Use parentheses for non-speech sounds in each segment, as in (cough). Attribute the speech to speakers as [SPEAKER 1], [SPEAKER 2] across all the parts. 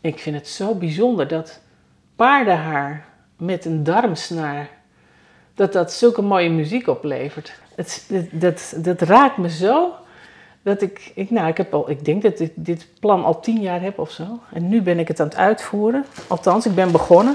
[SPEAKER 1] Ik vind het zo bijzonder dat paardenhaar met een darmsnaar, dat dat zulke mooie muziek oplevert. Het, dat, dat, dat raakt me zo, dat ik, ik, nou, ik, heb al, ik denk dat ik dit plan al tien jaar heb of zo. En nu ben ik het aan het uitvoeren. Althans, ik ben begonnen.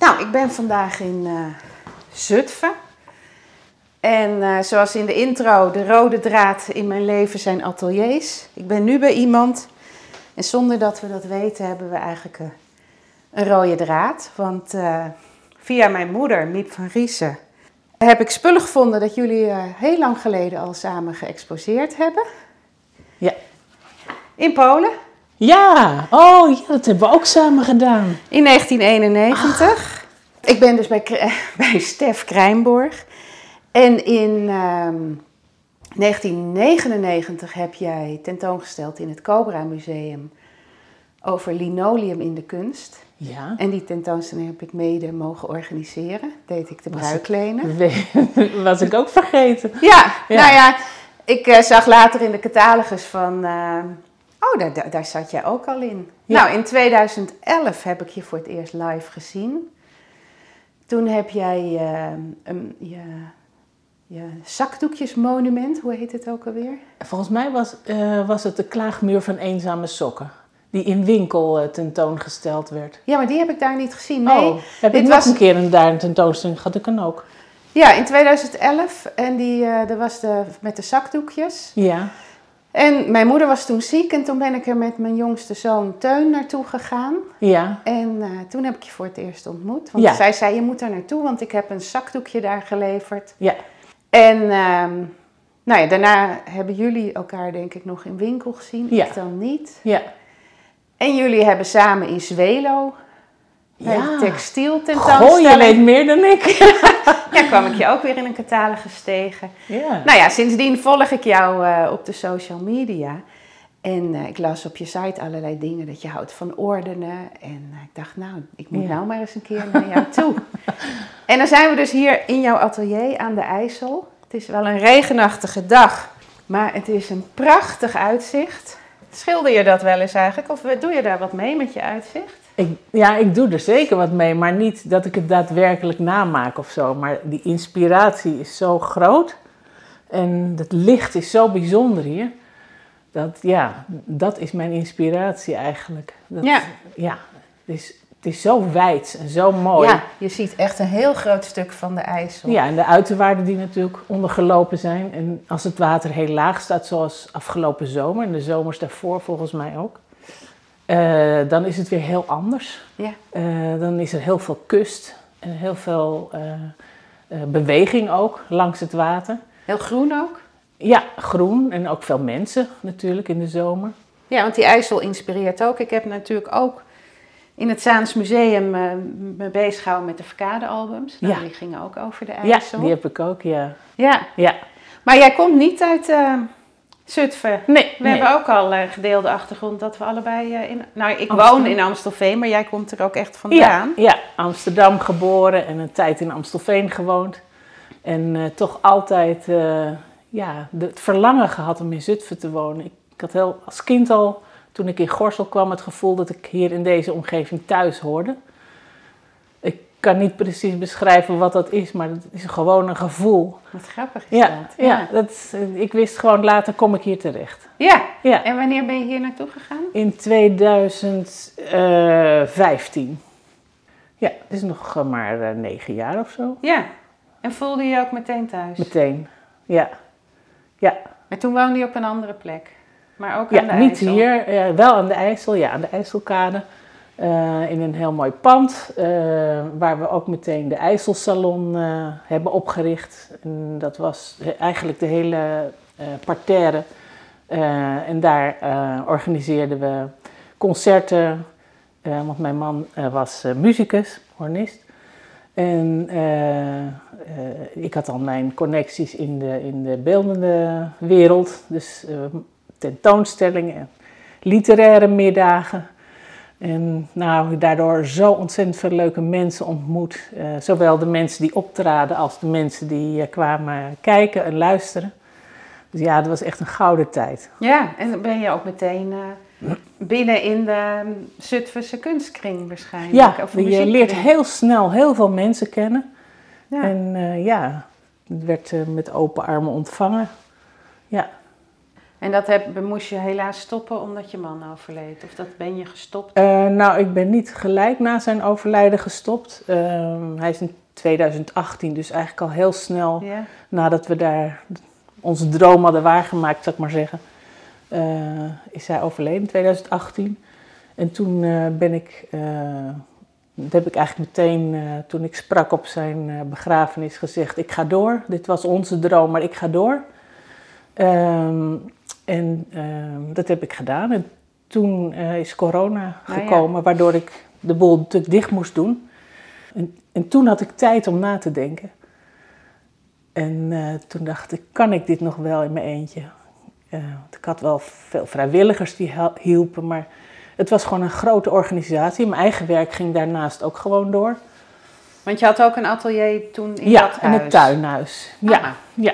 [SPEAKER 2] Nou, ik ben vandaag in eh, Zutphen. En eh, zoals in de intro, de rode draad in mijn leven zijn ateliers. Ik ben nu bij iemand. En zonder dat we dat weten, hebben we eigenlijk eh, een rode draad. Want eh, via mijn moeder, Miep van Riesen, heb ik spullen gevonden dat jullie eh, heel lang geleden al samen geëxposeerd hebben.
[SPEAKER 1] Ja.
[SPEAKER 2] In Polen,
[SPEAKER 1] Ja, oh ja, dat hebben we ook samen gedaan.
[SPEAKER 2] in 1991. Ik ben dus bij, Kr- (laughs) bij Stef Krijnborg. En in ehm, 1999 heb jij tentoongesteld in het Cobra Museum over linoleum in de kunst.
[SPEAKER 1] Ja.
[SPEAKER 2] En die tentoonstelling heb ik mede mogen organiseren. Deed ik de
[SPEAKER 1] Was het-
[SPEAKER 2] bruiklenen.
[SPEAKER 1] (laughs) Was ik ook vergeten.
[SPEAKER 2] Ja,
[SPEAKER 1] Ja.
[SPEAKER 2] nou ja, ik eh, zag later in de catalogus van. eh, oh, daar, daar, daar zat jij ook al in.
[SPEAKER 1] Ja.
[SPEAKER 2] Nou, in 2011 heb ik je voor het eerst live gezien. Toen heb jij eh, een, je, je zakdoekjesmonument, hoe heet het ook alweer?
[SPEAKER 1] Volgens mij was, eh, was het de klaagmuur van eenzame sokken. Die in winkel eh, tentoongesteld werd.
[SPEAKER 2] Ja, maar die heb ik daar niet gezien. Nee.
[SPEAKER 1] oh, heb
[SPEAKER 2] dit
[SPEAKER 1] ik nog
[SPEAKER 2] was-
[SPEAKER 1] een keer een, daar een tentoonstelling gehad? Ik kan ook.
[SPEAKER 2] Ja, in 2011. En die, eh dat was de, met de zakdoekjes.
[SPEAKER 1] Ja.
[SPEAKER 2] En mijn moeder was toen ziek en toen ben ik er met mijn jongste zoon Teun naartoe gegaan.
[SPEAKER 1] Ja.
[SPEAKER 2] En eh, toen heb ik je voor het eerst ontmoet. Want
[SPEAKER 1] Ja.
[SPEAKER 2] zij zei, je moet daar naartoe, want ik heb een zakdoekje daar geleverd.
[SPEAKER 1] Ja.
[SPEAKER 2] En ehm, nou ja, daarna hebben jullie elkaar denk ik nog in winkel gezien.
[SPEAKER 1] Ja.
[SPEAKER 2] Ik dan niet.
[SPEAKER 1] Ja.
[SPEAKER 2] En jullie hebben samen in Zwelo eh, bij de textiel
[SPEAKER 1] Goh, je weet
[SPEAKER 2] tentoonstelling.
[SPEAKER 1] meer dan ik.
[SPEAKER 2] Ja, kwam ik je ook weer in een catalogus tegen.
[SPEAKER 1] (laughs) ja.
[SPEAKER 2] Nou ja, sindsdien volg ik jou eh, op de social media. En eh, ik las op je site allerlei dingen dat je houdt van ordenen. En eh, ik dacht, nou, ik moet
[SPEAKER 1] Ja.
[SPEAKER 2] nou maar eens een keer naar jou toe. en dan zijn we dus hier in jouw atelier aan de IJssel. Het is wel een regenachtige dag, maar het is een prachtig uitzicht. Schilder je dat wel eens eigenlijk? Of doe je daar wat mee met je uitzicht?
[SPEAKER 1] Ik, ja, ik doe er zeker wat mee, maar niet dat ik het daadwerkelijk namaak of zo. Maar die inspiratie is zo groot en het licht is zo bijzonder hier. Dat, ja, dat is mijn inspiratie eigenlijk. Dat,
[SPEAKER 2] Ja.
[SPEAKER 1] ja het, is, het is zo wijd en zo mooi.
[SPEAKER 2] Ja, je ziet echt een heel groot stuk van de IJssel.
[SPEAKER 1] Ja, en de uiterwaarden die natuurlijk ondergelopen zijn. En als het water heel laag staat, zoals afgelopen zomer en de zomers daarvoor volgens mij ook, eh, dan is het weer heel anders.
[SPEAKER 2] Ja.
[SPEAKER 1] Eh, dan is er heel veel kust en heel veel eh, eh, beweging ook langs het water.
[SPEAKER 2] Heel groen ook.
[SPEAKER 1] Ja, groen en ook veel mensen natuurlijk in de zomer.
[SPEAKER 2] Ja, want die IJssel inspireert ook. Ik heb natuurlijk ook in het Zaans Museum eh, me bezig gehouden met de verkadealbums. Nou,
[SPEAKER 1] Ja.
[SPEAKER 2] Die gingen ook over de
[SPEAKER 1] Ja,
[SPEAKER 2] IJssel.
[SPEAKER 1] die heb ik ook, ja.
[SPEAKER 2] Ja.
[SPEAKER 1] ja.
[SPEAKER 2] Maar jij komt niet uit eh, Zutphen.
[SPEAKER 1] Nee,
[SPEAKER 2] We
[SPEAKER 1] nee.
[SPEAKER 2] hebben ook al een gedeelde achtergrond dat we allebei eh, in... Nou, ik
[SPEAKER 1] Amsterdam.
[SPEAKER 2] woon in Amstelveen, maar jij komt er ook echt
[SPEAKER 1] Ja,
[SPEAKER 2] vandaan.
[SPEAKER 1] ja, Amsterdam geboren en een tijd in Amstelveen gewoond. En eh, toch altijd eh, ja, de- het verlangen gehad om in Zutphen te wonen. Ik, ik had heel, als kind al, toen ik in Gorsel kwam, het gevoel dat ik hier in deze omgeving thuis hoorde. Ik kan niet precies beschrijven wat dat is, maar het is gewoon een gevoel.
[SPEAKER 2] Wat grappig is
[SPEAKER 1] Ja,
[SPEAKER 2] dat.
[SPEAKER 1] ja dat, is- ik wist gewoon later kom ik hier terecht.
[SPEAKER 2] Ja.
[SPEAKER 1] Ja,
[SPEAKER 2] En wanneer ben je hier naartoe gegaan?
[SPEAKER 1] in 2015. Ja, het is nog eh, maar eh, negen jaar of zo.
[SPEAKER 2] Ja. En voelde je je ook meteen thuis?
[SPEAKER 1] Meteen. Ja. Ja,
[SPEAKER 2] Maar toen woonde je op een andere plek. Maar ook
[SPEAKER 1] ja
[SPEAKER 2] aan de
[SPEAKER 1] niet
[SPEAKER 2] IJssel.
[SPEAKER 1] hier, eh, wel aan de IJssel, ja, aan de IJsselkade. Eh, in een heel mooi pand, eh, waar we ook meteen de IJsselsalon eh, hebben opgericht. En dat was eh, eigenlijk de hele eh parterre. Eh, en daar eh, organiseerden we concerten, eh, want mijn man eh, was eh, muzikus, hornist. En eh, eh, ik had al mijn connecties in de, in de beeldende wereld. Dus eh, tentoonstellingen en literaire middagen. En nou, daardoor zo ontzettend veel leuke mensen ontmoet. Eh, zowel de mensen die optraden als de mensen die eh, kwamen kijken en luisteren. Dus ja, dat was echt een gouden tijd.
[SPEAKER 2] Ja, en dan ben je ook meteen eh, binnen in de ehm, Zutphense kunstkring
[SPEAKER 1] Ja,
[SPEAKER 2] waarschijnlijk. of
[SPEAKER 1] je
[SPEAKER 2] muziekkring.
[SPEAKER 1] leert heel snel heel veel mensen kennen.
[SPEAKER 2] Ja.
[SPEAKER 1] En eh, ja, het werd eh, met open armen ontvangen. Ja,
[SPEAKER 2] En dat heb, moest je helaas stoppen omdat je man overleed. Of dat ben je gestopt.
[SPEAKER 1] Eh, nou, ik ben niet gelijk na zijn overlijden gestopt. Ehm, hij is in 2018, dus eigenlijk al heel snel
[SPEAKER 2] Ja.
[SPEAKER 1] nadat we daar onze droom hadden waargemaakt, zal ik maar zeggen, eh, is hij overleden in 2018. En toen eh, ben ik, eh, dat heb ik eigenlijk meteen, eh, toen ik sprak op zijn eh, begrafenis, gezegd: Ik ga door. Dit was onze droom, maar ik ga door. Ehm, en ehm, dat heb ik gedaan. En toen eh, is corona
[SPEAKER 2] Nou ja.
[SPEAKER 1] gekomen, waardoor ik de boel natuurlijk dicht moest doen. En, en toen had ik tijd om na te denken. En eh, toen dacht ik, kan ik dit nog wel in mijn eentje? Eh, want ik had wel veel vrijwilligers die hel- hielpen, maar het was gewoon een grote organisatie. Mijn eigen werk ging daarnaast ook gewoon door.
[SPEAKER 2] Want je had ook een atelier toen in dat
[SPEAKER 1] ja, en
[SPEAKER 2] huis.
[SPEAKER 1] het tuinhuis.
[SPEAKER 2] Ah.
[SPEAKER 1] Ja, ja.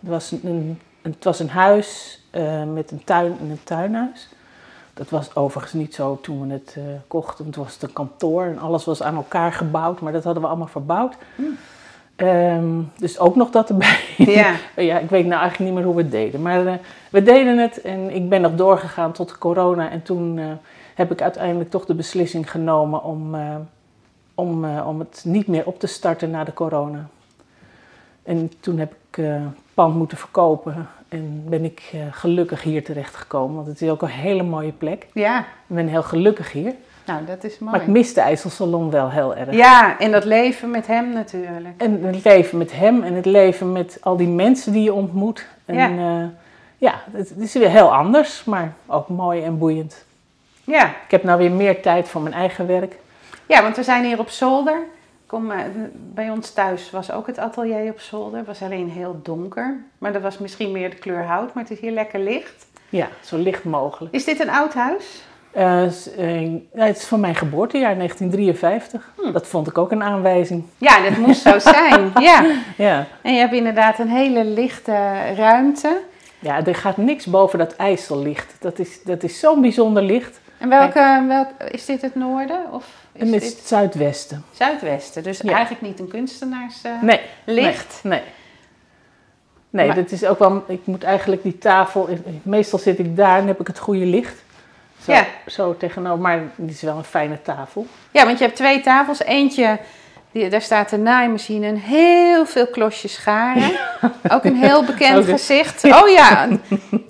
[SPEAKER 1] Het, was een, een- het was een huis eh, met een tuin en een tuinhuis. Dat was overigens niet zo toen we het eh, kochten, want toen was het een kantoor en alles was aan elkaar gebouwd, maar dat hadden we allemaal verbouwd. Ehm, dus ook nog dat erbij.
[SPEAKER 2] Hmm. Ja.
[SPEAKER 1] Ja, ik weet nou eigenlijk niet meer hoe we het deden. Maar eh, we deden het en ik ben nog doorgegaan tot de corona. En toen eh, heb ik uiteindelijk toch de beslissing genomen om, eh, om, eh, om het niet meer op te starten na de corona. En toen heb ik eh, het pand moeten verkopen en ben ik eh, gelukkig hier terechtgekomen. Want het is ook een hele mooie plek.
[SPEAKER 2] Ja,
[SPEAKER 1] Ik ben heel gelukkig hier.
[SPEAKER 2] nou dat is
[SPEAKER 1] Maar
[SPEAKER 2] mooi.
[SPEAKER 1] ik mis de IJsselsalon wel heel erg.
[SPEAKER 2] Ja, en dat leven met hem natuurlijk.
[SPEAKER 1] En het leven met hem en het leven met al die mensen die je ontmoet. En,
[SPEAKER 2] Ja.
[SPEAKER 1] eh, ja, het, het is weer heel anders, maar ook mooi en boeiend.
[SPEAKER 2] Ja.
[SPEAKER 1] Ik heb nou weer meer tijd voor mijn eigen werk.
[SPEAKER 2] ja, want we zijn hier op zolder. Kom, eh, bij ons thuis was ook het atelier op zolder. Het was alleen heel donker. Maar dat was misschien meer de kleur hout, maar het is hier lekker licht.
[SPEAKER 1] Ja, zo licht mogelijk.
[SPEAKER 2] Is dit een oud huis?
[SPEAKER 1] Eh, s- eh, ja, het is van mijn geboortejaar 1953.
[SPEAKER 2] Hm.
[SPEAKER 1] Dat vond ik ook een aanwijzing.
[SPEAKER 2] Ja, dat moest (laughs) zo zijn. Ja.
[SPEAKER 1] Ja.
[SPEAKER 2] En je hebt inderdaad een hele lichte ruimte.
[SPEAKER 1] ja, er gaat niks boven dat IJssellicht. Dat is, dat is zo'n bijzonder licht.
[SPEAKER 2] En welke, welk, is dit het noorden of is
[SPEAKER 1] en het is
[SPEAKER 2] dit
[SPEAKER 1] het zuidwesten.
[SPEAKER 2] zuidwesten? Dus
[SPEAKER 1] Ja.
[SPEAKER 2] eigenlijk niet een kunstenaars... eh,
[SPEAKER 1] Nee.
[SPEAKER 2] Licht?
[SPEAKER 1] Nee. Nee, Nee,
[SPEAKER 2] Maar-
[SPEAKER 1] dat is ook wel. Ik moet eigenlijk die tafel. Meestal zit ik daar en heb ik het goede licht. Zo,
[SPEAKER 2] Ja.
[SPEAKER 1] zo tegenover. Maar het is wel een fijne tafel.
[SPEAKER 2] Ja, want je hebt twee tafels. Eentje, die, daar staat de naaimachine en heel veel klosjes scharen. (laughs) Ook een heel bekend
[SPEAKER 1] Ook een-
[SPEAKER 2] gezicht. Oh ja,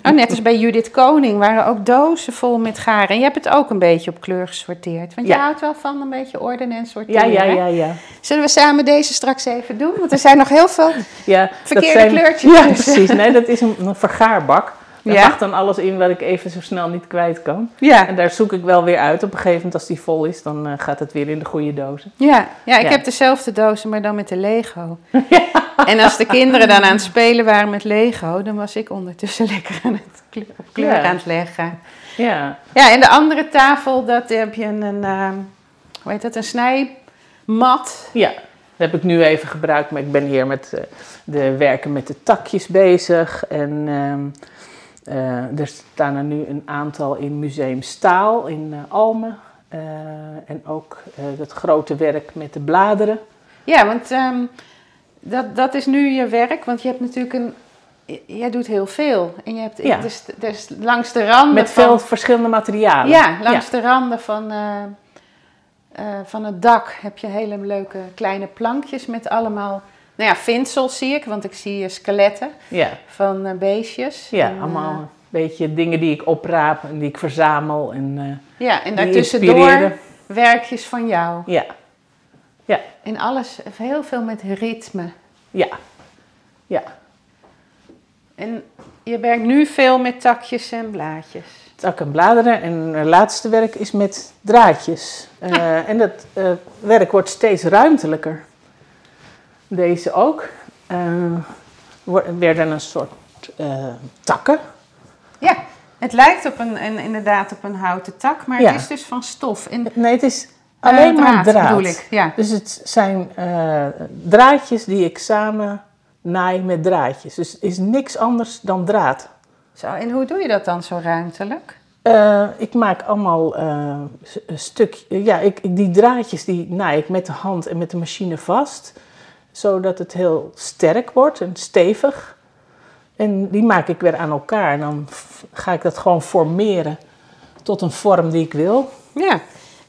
[SPEAKER 2] oh, net als bij Judith Koning waren ook dozen vol met garen. En je hebt het ook een beetje op kleur gesorteerd. Want je
[SPEAKER 1] Ja.
[SPEAKER 2] houdt wel van een beetje orden en
[SPEAKER 1] Ja,
[SPEAKER 2] sorteren.
[SPEAKER 1] ja,
[SPEAKER 2] hè?
[SPEAKER 1] ja, ja.
[SPEAKER 2] Zullen we samen deze straks even doen? Want er zijn nog heel veel.
[SPEAKER 1] ja dat
[SPEAKER 2] Verkeerde kleurtjes (laughs)
[SPEAKER 1] Ja,
[SPEAKER 2] dus.
[SPEAKER 1] precies. Nee, dat is een, een vergaarbak. Daar
[SPEAKER 2] Ja.
[SPEAKER 1] mag dan alles in wat ik even zo snel niet kwijt kan.
[SPEAKER 2] Ja,
[SPEAKER 1] En daar zoek ik wel weer uit. Op een gegeven moment, als die vol is, dan eh, gaat het weer in de goede dozen.
[SPEAKER 2] ja, ja ik
[SPEAKER 1] Ja.
[SPEAKER 2] heb dezelfde dozen, maar dan met de
[SPEAKER 1] (laughs)
[SPEAKER 2] Lego. En als de kinderen dan aan het spelen waren met Lego, dan was ik ondertussen (laughs) lekker aan het kleur, op kleur
[SPEAKER 1] Ja.
[SPEAKER 2] aan het leggen.
[SPEAKER 1] Ja,
[SPEAKER 2] Ja, en de andere tafel, dat heb je een, een ehm, hoe heet dat, een snijmat.
[SPEAKER 1] Ja, dat heb ik nu even gebruikt, maar ik ben hier met eh, de werken met de takjes bezig. En ehm, eh, er staan er nu een aantal in Museum Staal in eh, Almen. Eh, en ook eh dat grote werk met de bladeren.
[SPEAKER 2] Ja, want ehm, dat, dat is nu je werk, want je hebt natuurlijk een, j- jij doet heel veel. En je hebt,
[SPEAKER 1] Ja.
[SPEAKER 2] dus, dus langs de randen
[SPEAKER 1] Met
[SPEAKER 2] van,
[SPEAKER 1] veel verschillende materialen.
[SPEAKER 2] ja, langs de randen van, eh, eh, van het dak heb je hele leuke kleine plankjes met allemaal, nou ja, vinsels zie ik, want ik zie eh, skeletten
[SPEAKER 1] Ja,
[SPEAKER 2] van eh, beestjes.
[SPEAKER 1] ja,
[SPEAKER 2] En, eh,
[SPEAKER 1] allemaal een beetje dingen die ik opraap en die ik verzamel. En, eh,
[SPEAKER 2] ja, en
[SPEAKER 1] die
[SPEAKER 2] daartussendoor
[SPEAKER 1] inspireren.
[SPEAKER 2] werkjes van jou.
[SPEAKER 1] ja,
[SPEAKER 2] En alles, heel veel met ritme.
[SPEAKER 1] ja, ja.
[SPEAKER 2] En je werkt nu veel met takjes en blaadjes.
[SPEAKER 1] tak en bladeren. En het laatste werk is met draadjes. Eh, En dat eh, werk wordt steeds ruimtelijker. Deze ook. Eh, wor- werden een soort eh, takken.
[SPEAKER 2] Ja, het lijkt op een, een, inderdaad op een houten tak, maar
[SPEAKER 1] Ja.
[SPEAKER 2] het is dus van stof. En,
[SPEAKER 1] Nee, het is alleen
[SPEAKER 2] eh,
[SPEAKER 1] maar draad.
[SPEAKER 2] bedoel ik. Ja.
[SPEAKER 1] Dus het zijn eh, draadjes die ik samen naai met draadjes. Dus het is niks anders dan draad.
[SPEAKER 2] Zo, en hoe doe je dat dan zo ruimtelijk?
[SPEAKER 1] Eh, ik maak allemaal eh, s- een stuk. Ja, ik, ik- die draadjes die naai ik met de hand en met de machine vast. Zodat het heel sterk wordt en stevig. En die maak ik weer aan elkaar. En dan f- ga ik dat gewoon formeren tot een vorm die ik wil.
[SPEAKER 2] Ja,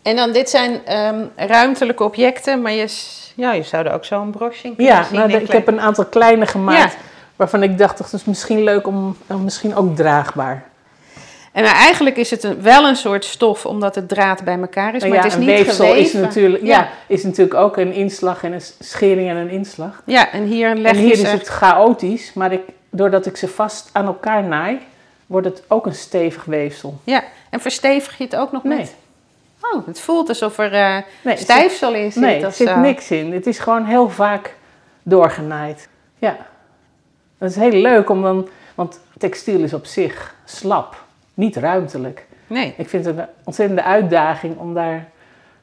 [SPEAKER 2] en dan dit zijn ehm, ruimtelijke objecten, maar je, s- ja, je zou er ook zo'n broche in kunnen
[SPEAKER 1] Ja,
[SPEAKER 2] zien.
[SPEAKER 1] nou, de-
[SPEAKER 2] een
[SPEAKER 1] ik
[SPEAKER 2] dus klein-
[SPEAKER 1] heb een aantal kleine gemaakt.
[SPEAKER 2] Ja.
[SPEAKER 1] Waarvan ik dacht, dat is misschien leuk om, eh, misschien ook draagbaar.
[SPEAKER 2] En eh, eigenlijk is het een, wel een soort stof, omdat het draad bij elkaar is, Dus maar
[SPEAKER 1] Nou ja,
[SPEAKER 2] het is
[SPEAKER 1] een
[SPEAKER 2] niet
[SPEAKER 1] weefsel
[SPEAKER 2] geweven.
[SPEAKER 1] is natuurlijk, ja.
[SPEAKER 2] Ja.
[SPEAKER 1] is natuurlijk ook een inslag en een s- schering en een inslag.
[SPEAKER 2] Ja, en hier leg
[SPEAKER 1] en
[SPEAKER 2] je
[SPEAKER 1] hier
[SPEAKER 2] ze...
[SPEAKER 1] is het chaotisch, maar ik, doordat ik ze vast aan elkaar naai, wordt het ook een stevig weefsel.
[SPEAKER 2] Ja, en verstevig je het ook nog
[SPEAKER 1] Nee,
[SPEAKER 2] met... Oh, het voelt alsof er eh,
[SPEAKER 1] nee, er
[SPEAKER 2] stijfsel in
[SPEAKER 1] zit,
[SPEAKER 2] zit.
[SPEAKER 1] nee, er
[SPEAKER 2] of
[SPEAKER 1] zit
[SPEAKER 2] zo.
[SPEAKER 1] niks in. Het is gewoon heel vaak doorgenaaid. Ja, dat is heel leuk om dan, want textiel is op zich slap, niet ruimtelijk.
[SPEAKER 2] Nee.
[SPEAKER 1] Ik vind het een ontzettende uitdaging om daar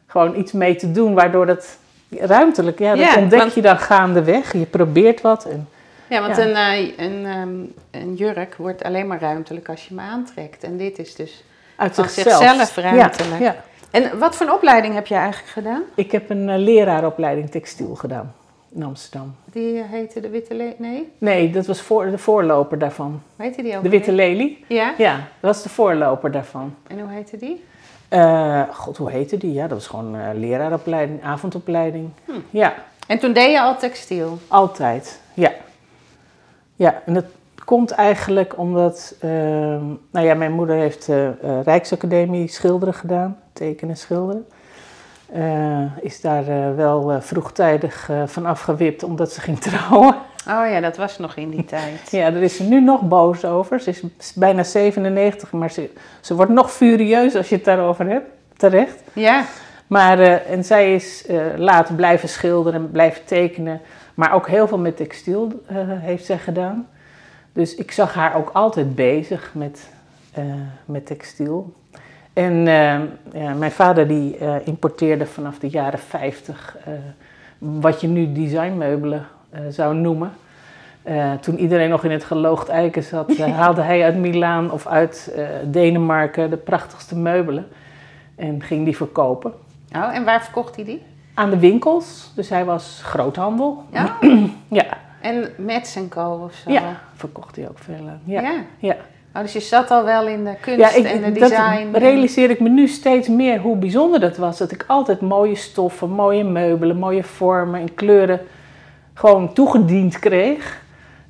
[SPEAKER 1] gewoon iets mee te doen, waardoor dat ruimtelijk, ja, dat
[SPEAKER 2] Ja,
[SPEAKER 1] ontdek
[SPEAKER 2] want-
[SPEAKER 1] je dan gaandeweg. Je probeert wat en
[SPEAKER 2] Ja, want
[SPEAKER 1] Ja.
[SPEAKER 2] Een, eh, een, ehm, een jurk wordt alleen maar ruimtelijk als je hem aantrekt. En dit is dus...
[SPEAKER 1] uit
[SPEAKER 2] Van
[SPEAKER 1] zichzelf.
[SPEAKER 2] zichzelf ruimtelijk.
[SPEAKER 1] Ja, ja.
[SPEAKER 2] En wat voor een opleiding heb je eigenlijk gedaan?
[SPEAKER 1] Ik heb een eh, leraaropleiding textiel gedaan in Amsterdam.
[SPEAKER 2] Die heette de Witte Lelie? Nee,
[SPEAKER 1] Nee, dat was voor, de voorloper daarvan.
[SPEAKER 2] hoe heette die ook?
[SPEAKER 1] De Witte Lelie?
[SPEAKER 2] Lelie? Ja,
[SPEAKER 1] Ja, dat was de voorloper daarvan.
[SPEAKER 2] en hoe heette die?
[SPEAKER 1] Eh, God, hoe heette die? Ja, dat was gewoon eh, leraaropleiding, avondopleiding. Ja,
[SPEAKER 2] En toen deed je al textiel.
[SPEAKER 1] altijd. Ja. Ja, en dat komt eigenlijk omdat... ehm, nou ja, mijn moeder heeft eh, eh, Rijksacademie schilderen gedaan. Tekenen, schilderen. Eh, is daar eh, wel eh, vroegtijdig eh, van afgewipt omdat ze ging trouwen.
[SPEAKER 2] Oh ja, dat was nog in
[SPEAKER 1] (laughs)
[SPEAKER 2] die tijd.
[SPEAKER 1] Ja, daar is ze nu nog boos over. Ze is bijna 97, maar ze, ze wordt nog furieus als je het daarover hebt. Terecht.
[SPEAKER 2] Ja,
[SPEAKER 1] Maar, eh, en zij is eh later blijven schilderen, blijven tekenen. Maar ook heel veel met textiel eh, heeft zij gedaan. Dus ik zag haar ook altijd bezig met, eh, met textiel. En eh, ja, mijn vader die eh, importeerde vanaf de jaren 50 eh, wat je nu designmeubelen eh, zou noemen. Eh, toen iedereen nog in het geloogd eiken zat, eh, haalde hij uit Milaan of uit eh, Denemarken de prachtigste meubelen. En ging die verkopen
[SPEAKER 2] oh, en waar verkocht hij die?
[SPEAKER 1] aan de winkels. Dus hij was groothandel.
[SPEAKER 2] Ja,
[SPEAKER 1] (clears throat) Ja,
[SPEAKER 2] en Mets Co of zo. eh.
[SPEAKER 1] ja. verkocht hij ook veel aan. Ja.
[SPEAKER 2] Ja.
[SPEAKER 1] Ja.
[SPEAKER 2] Oh, dus je zat al wel in de kunst
[SPEAKER 1] Ja, ik,
[SPEAKER 2] en de
[SPEAKER 1] dat
[SPEAKER 2] design. en-
[SPEAKER 1] realiseer ik me nu steeds meer hoe bijzonder dat was. Dat ik altijd mooie stoffen, mooie meubelen, mooie vormen en kleuren gewoon toegediend kreeg.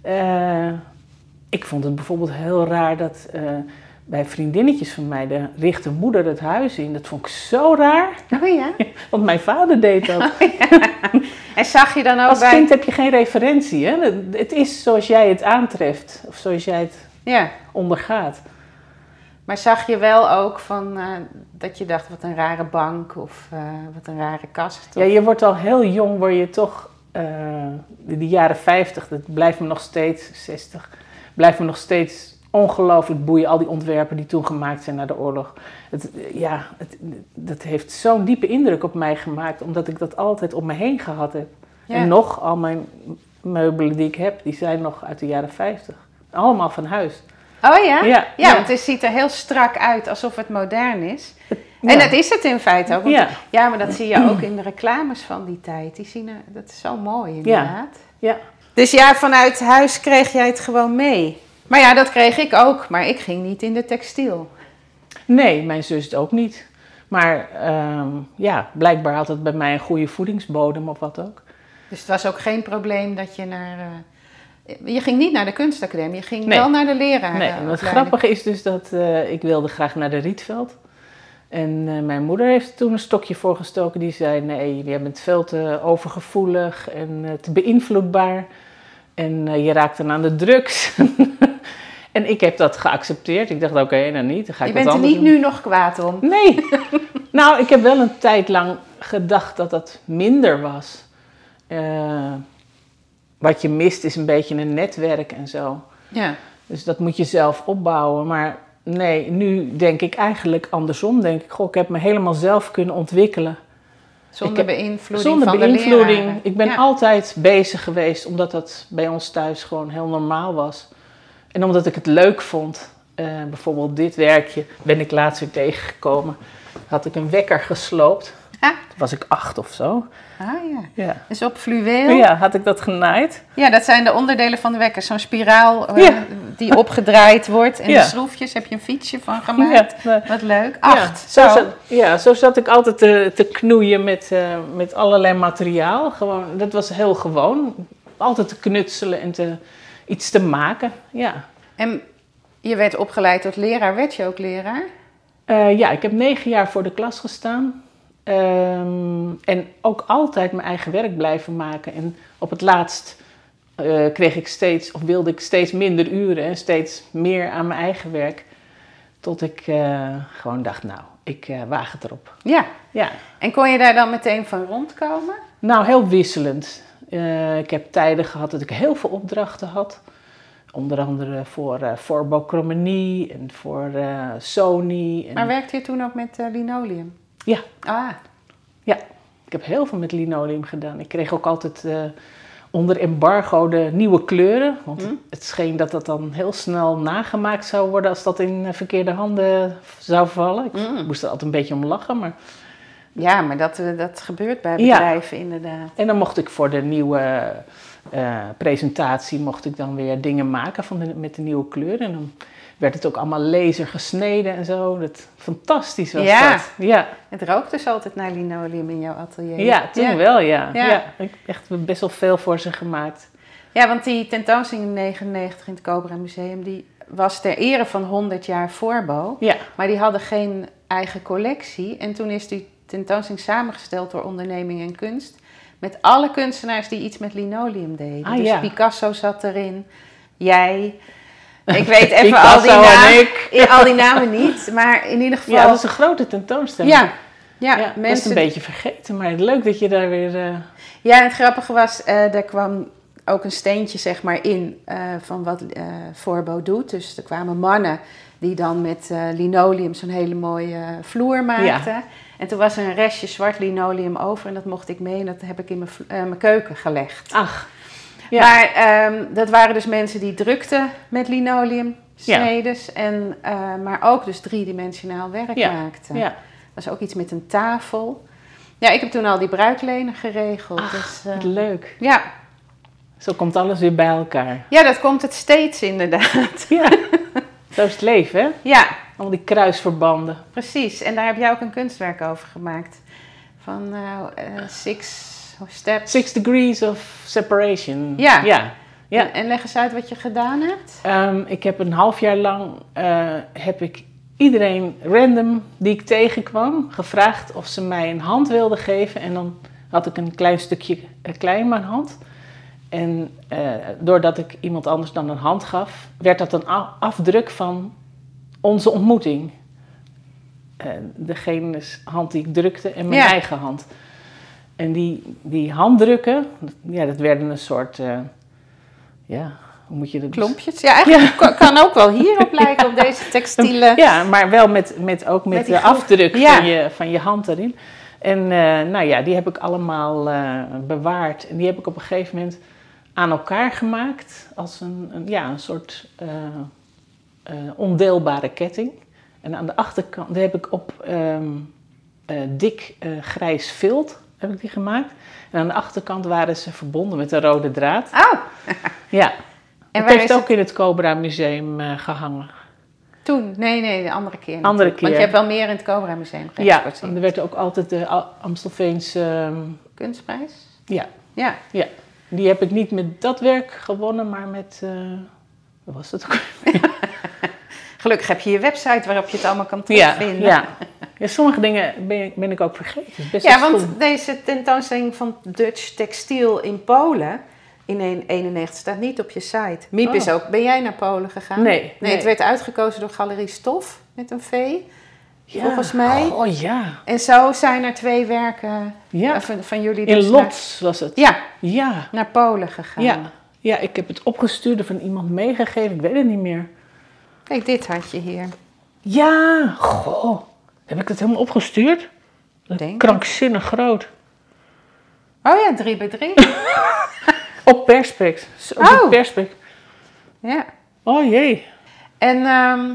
[SPEAKER 1] Eh, ik vond het bijvoorbeeld heel raar dat eh, bij vriendinnetjes van mij de richtermoeder het huis in. Dat vond ik zo raar,
[SPEAKER 2] Oh ja.
[SPEAKER 1] want mijn vader deed dat.
[SPEAKER 2] En zag je dan ook
[SPEAKER 1] Als
[SPEAKER 2] bij...
[SPEAKER 1] kind heb je geen referentie. Hè? Het- Het is zoals jij het aantreft of zoals jij het
[SPEAKER 2] Ja,
[SPEAKER 1] ondergaat.
[SPEAKER 2] maar zag je wel ook van eh, dat je dacht wat een rare bank of eh, wat een rare kast.
[SPEAKER 1] Ja,
[SPEAKER 2] of-
[SPEAKER 1] je wordt al heel jong, word je toch, eh die jaren 50, dat blijft me nog steeds, 60, blijft me nog steeds ongelooflijk boeien. Al die ontwerpen die toen gemaakt zijn na de oorlog. Het, ja, het, dat heeft zo'n diepe indruk op mij gemaakt, omdat ik dat altijd om me heen gehad heb.
[SPEAKER 2] Ja.
[SPEAKER 1] En nog, al mijn meubelen die ik heb, die zijn nog uit de jaren 50. Allemaal van huis.
[SPEAKER 2] Oh ja?
[SPEAKER 1] Ja,
[SPEAKER 2] Ja,
[SPEAKER 1] ja.
[SPEAKER 2] want het ziet er heel strak uit, alsof het modern is.
[SPEAKER 1] Ja.
[SPEAKER 2] En dat is het in feite ook. want- ja.
[SPEAKER 1] Ja.
[SPEAKER 2] maar dat zie je ook in de reclames van die tijd. Die zien er, dat is zo mooi inderdaad.
[SPEAKER 1] Ja.
[SPEAKER 2] Dus ja, vanuit huis kreeg jij het gewoon mee. Maar ja, dat kreeg ik ook. Maar ik ging niet in de textiel.
[SPEAKER 1] Nee, mijn zus het ook niet. Maar ehm, ja, blijkbaar had het bij mij een goede voedingsbodem of wat ook.
[SPEAKER 2] Dus het was ook geen probleem dat je naar... eh, je ging niet naar de kunstacademie, je ging
[SPEAKER 1] Nee.
[SPEAKER 2] wel naar de leraar. eh,
[SPEAKER 1] nee, en het grappige is dus dat eh, ik wilde graag naar de Rietveld. En eh, mijn moeder heeft er toen een stokje voor gestoken. Die zei, nee, jij bent veel te overgevoelig en eh, te beïnvloedbaar. En eh, je raakt dan aan de drugs. (laughs) En ik heb dat geaccepteerd. Ik dacht, oké, nou niet. Dan ga ik
[SPEAKER 2] Je
[SPEAKER 1] wat
[SPEAKER 2] bent er
[SPEAKER 1] anders
[SPEAKER 2] niet nu nog kwaad om.
[SPEAKER 1] doen. Nee. nou, ik heb wel een tijd lang gedacht dat dat minder was. Eh, wat je mist is een beetje een netwerk en zo.
[SPEAKER 2] Ja.
[SPEAKER 1] Dus dat moet je zelf opbouwen. Maar nee, nu denk ik eigenlijk andersom. Denk ik, goh, ik heb me helemaal zelf kunnen ontwikkelen.
[SPEAKER 2] Zonder
[SPEAKER 1] Ik heb-
[SPEAKER 2] beïnvloeding
[SPEAKER 1] Zonder
[SPEAKER 2] van de
[SPEAKER 1] beïnvloeding.
[SPEAKER 2] leraren.
[SPEAKER 1] ik ben
[SPEAKER 2] Ja.
[SPEAKER 1] altijd bezig geweest, omdat dat bij ons thuis gewoon heel normaal was. En omdat ik het leuk vond. Eh, bijvoorbeeld dit werkje ben ik laatst weer tegengekomen. Had ik een wekker gesloopt.
[SPEAKER 2] Ah.
[SPEAKER 1] Toen was ik acht of zo.
[SPEAKER 2] Ah ja.
[SPEAKER 1] Ja. Oh
[SPEAKER 2] Dus op fluweel. Ja.
[SPEAKER 1] ja, had ik dat genaaid.
[SPEAKER 2] dat zijn de onderdelen van de wekker. Zo'n spiraal eh,
[SPEAKER 1] Ja.
[SPEAKER 2] die opgedraaid wordt. En
[SPEAKER 1] Ja.
[SPEAKER 2] de schroefjes heb je een fietsje van
[SPEAKER 1] Ja,
[SPEAKER 2] gemaakt.
[SPEAKER 1] eh,
[SPEAKER 2] Wat leuk. Acht.
[SPEAKER 1] Ja, zo, zat, ja, zo zat ik altijd te, te knoeien met, eh, met allerlei materiaal. Gewoon, dat was heel gewoon. Altijd te knutselen en te, iets te maken. Ja.
[SPEAKER 2] En je werd opgeleid tot leraar. Werd je ook leraar?
[SPEAKER 1] Eh, ja, ik heb negen jaar voor de klas gestaan. Ehm, en ook altijd mijn eigen werk blijven maken. En op het laatst eh, kreeg ik steeds, of wilde ik steeds minder uren en steeds meer aan mijn eigen werk. Tot ik eh, gewoon dacht, nou, ik eh, waag het erop.
[SPEAKER 2] Ja.
[SPEAKER 1] Ja,
[SPEAKER 2] En kon je daar dan meteen van rondkomen?
[SPEAKER 1] nou, heel wisselend. Eh, ik heb tijden gehad dat ik heel veel opdrachten had. Onder andere voor, eh voor Bocromanie en voor eh, Sony. En...
[SPEAKER 2] Maar werkte je toen ook met eh, linoleum?
[SPEAKER 1] Ja.
[SPEAKER 2] Ah,
[SPEAKER 1] Ik heb heel veel met linoleum gedaan. Ik kreeg ook altijd eh, onder embargo de nieuwe kleuren. Want
[SPEAKER 2] Hm.
[SPEAKER 1] het scheen dat dat dan heel snel nagemaakt zou worden als dat in eh, verkeerde handen zou vallen. Ik
[SPEAKER 2] Mm.
[SPEAKER 1] moest er altijd een beetje om lachen. Maar...
[SPEAKER 2] ja, maar dat, eh, dat gebeurt bij
[SPEAKER 1] Ja.
[SPEAKER 2] bedrijven inderdaad.
[SPEAKER 1] En dan mocht ik voor de nieuwe eh, presentatie mocht ik dan weer dingen maken van de- met de nieuwe kleuren. En dan werd het ook allemaal laser gesneden en zo. Dat, fantastisch was
[SPEAKER 2] Ja.
[SPEAKER 1] dat. Ja,
[SPEAKER 2] Het rookt dus altijd naar linoleum in jouw atelier.
[SPEAKER 1] ja toen wel ja.
[SPEAKER 2] Ja.
[SPEAKER 1] Ja. Ik heb echt best wel veel voor ze gemaakt.
[SPEAKER 2] Ja, want die tentoonstelling in 99 in het Cobra Museum, die was ter ere van 100 jaar Voorbo.
[SPEAKER 1] Ja.
[SPEAKER 2] Maar die hadden geen eigen collectie. En toen is die tentoonstelling samengesteld door onderneming en kunst. Met alle kunstenaars die iets met linoleum deden.
[SPEAKER 1] Ah,
[SPEAKER 2] dus
[SPEAKER 1] ja.
[SPEAKER 2] Picasso zat erin,
[SPEAKER 1] (laughs)
[SPEAKER 2] jij. Ik weet even al die,
[SPEAKER 1] Picasso en
[SPEAKER 2] namen,
[SPEAKER 1] ik.
[SPEAKER 2] ja, al die namen niet, maar in ieder geval...
[SPEAKER 1] Ja, dat is een grote tentoonstelling.
[SPEAKER 2] ja,
[SPEAKER 1] Ja,
[SPEAKER 2] ja,
[SPEAKER 1] dat is
[SPEAKER 2] mensen
[SPEAKER 1] een beetje vergeten, maar leuk dat je daar weer... eh,
[SPEAKER 2] Ja, en het grappige was, eh er kwam ook een steentje zeg maar in eh, van wat eh Voorbo doet. Dus er kwamen mannen die dan met eh, linoleum zo'n hele mooie eh, vloer maakten. En toen was er een restje zwart linoleum over en dat mocht ik mee en dat heb ik in mijn, vlo- eh, mijn keuken gelegd.
[SPEAKER 1] Ach, Ja.
[SPEAKER 2] Maar ehm, dat waren dus mensen die drukten met linoleum, snedes, en, eh, maar ook dus driedimensionaal werk
[SPEAKER 1] Ja.
[SPEAKER 2] maakten.
[SPEAKER 1] ja.
[SPEAKER 2] Dat was ook iets met een tafel. Ja, ik heb toen al die bruiklenen geregeld.
[SPEAKER 1] Ach,
[SPEAKER 2] dus, eh,
[SPEAKER 1] wat leuk.
[SPEAKER 2] ja,
[SPEAKER 1] Zo komt alles weer bij elkaar. (laughs)
[SPEAKER 2] ja, dat komt het steeds inderdaad. (laughs)
[SPEAKER 1] Ja, zo is het leven, hè?
[SPEAKER 2] Ja,
[SPEAKER 1] Al die kruisverbanden.
[SPEAKER 2] precies. En daar heb jij ook een kunstwerk over gemaakt. Van eh, eh, Six Steps.
[SPEAKER 1] Six degrees of separation.
[SPEAKER 2] Ja.
[SPEAKER 1] Ja. ja.
[SPEAKER 2] En, en leg eens uit wat je gedaan hebt.
[SPEAKER 1] Ehm, ik heb een half jaar lang eh, heb ik iedereen random die ik tegenkwam gevraagd of ze mij een hand wilden geven. En dan had ik een klein stukje eh, klei in mijn hand. En eh, doordat ik iemand anders dan een hand gaf, werd dat een a- afdruk van onze ontmoeting. Eh, degene's hand die ik drukte en mijn
[SPEAKER 2] Ja.
[SPEAKER 1] eigen hand. En die, die handdrukken, ja, dat werden een soort, eh, ja, hoe moet je dat
[SPEAKER 2] Klompjes. Ja, eigenlijk kan- kan ook wel
[SPEAKER 1] (laughs)
[SPEAKER 2] hierop lijken, op deze textiele.
[SPEAKER 1] ja, maar wel met, met, ook met,
[SPEAKER 2] Met die
[SPEAKER 1] de
[SPEAKER 2] groef.
[SPEAKER 1] afdruk
[SPEAKER 2] Ja.
[SPEAKER 1] van, je, van je hand erin. En eh, nou ja, die heb ik allemaal eh, bewaard. En die heb ik op een gegeven moment aan elkaar gemaakt. Als een, een, ja, een soort eh, eh, ondeelbare ketting. En aan de achterkant die heb ik op ehm, eh, dik eh, grijs vilt heb ik die gemaakt. En aan de achterkant waren ze verbonden met een rode draad.
[SPEAKER 2] Oh,
[SPEAKER 1] Ja,
[SPEAKER 2] en
[SPEAKER 1] en
[SPEAKER 2] waar
[SPEAKER 1] het
[SPEAKER 2] is
[SPEAKER 1] heeft
[SPEAKER 2] het
[SPEAKER 1] ook in het Cobra Museum eh, gehangen.
[SPEAKER 2] toen? Nee, nee, de andere keer.
[SPEAKER 1] Andere
[SPEAKER 2] natuurlijk. Want
[SPEAKER 1] keer.
[SPEAKER 2] je hebt wel meer in het Cobra Museum
[SPEAKER 1] Ja,
[SPEAKER 2] geëxporteerd.
[SPEAKER 1] en er werd ook altijd de Al- Amstelveense... ehm,
[SPEAKER 2] Kunstprijs.
[SPEAKER 1] ja,
[SPEAKER 2] Ja.
[SPEAKER 1] die heb ik niet met dat werk gewonnen, maar met... eh, wat was het ook?
[SPEAKER 2] Gelukkig heb je je website waarop je het allemaal kan
[SPEAKER 1] Ja,
[SPEAKER 2] terugvinden.
[SPEAKER 1] ja. ja, sommige dingen ben, ik- ben ik ook vergeten. Het is best
[SPEAKER 2] Ja,
[SPEAKER 1] wel stom.
[SPEAKER 2] want deze tentoonstelling van Dutch Textiel in Polen in 1991 staat niet op je site. Miep
[SPEAKER 1] Oh.
[SPEAKER 2] is ook. Ben jij naar Polen gegaan?
[SPEAKER 1] Nee,
[SPEAKER 2] Nee,
[SPEAKER 1] nee.
[SPEAKER 2] het werd uitgekozen door Galerie Stof met een V.
[SPEAKER 1] Ja.
[SPEAKER 2] Volgens mij.
[SPEAKER 1] Oh ja.
[SPEAKER 2] En zo zijn er twee werken eh,
[SPEAKER 1] ja.
[SPEAKER 2] van, van jullie.
[SPEAKER 1] In
[SPEAKER 2] dus naar-
[SPEAKER 1] Lots was het.
[SPEAKER 2] ja,
[SPEAKER 1] Ja.
[SPEAKER 2] naar Polen gegaan.
[SPEAKER 1] Ja. ja, ik heb het opgestuurd of van iemand meegegeven, ik weet het niet meer.
[SPEAKER 2] Kijk, dit had je hier.
[SPEAKER 1] Ja, goh. Heb ik het helemaal opgestuurd?
[SPEAKER 2] Denk ik.
[SPEAKER 1] Krankzinnig groot.
[SPEAKER 2] Oh ja, drie bij
[SPEAKER 1] (laughs)
[SPEAKER 2] drie.
[SPEAKER 1] Op perspex. Op
[SPEAKER 2] Oh.
[SPEAKER 1] die perspex.
[SPEAKER 2] ja.
[SPEAKER 1] Oh jee.
[SPEAKER 2] En ehm,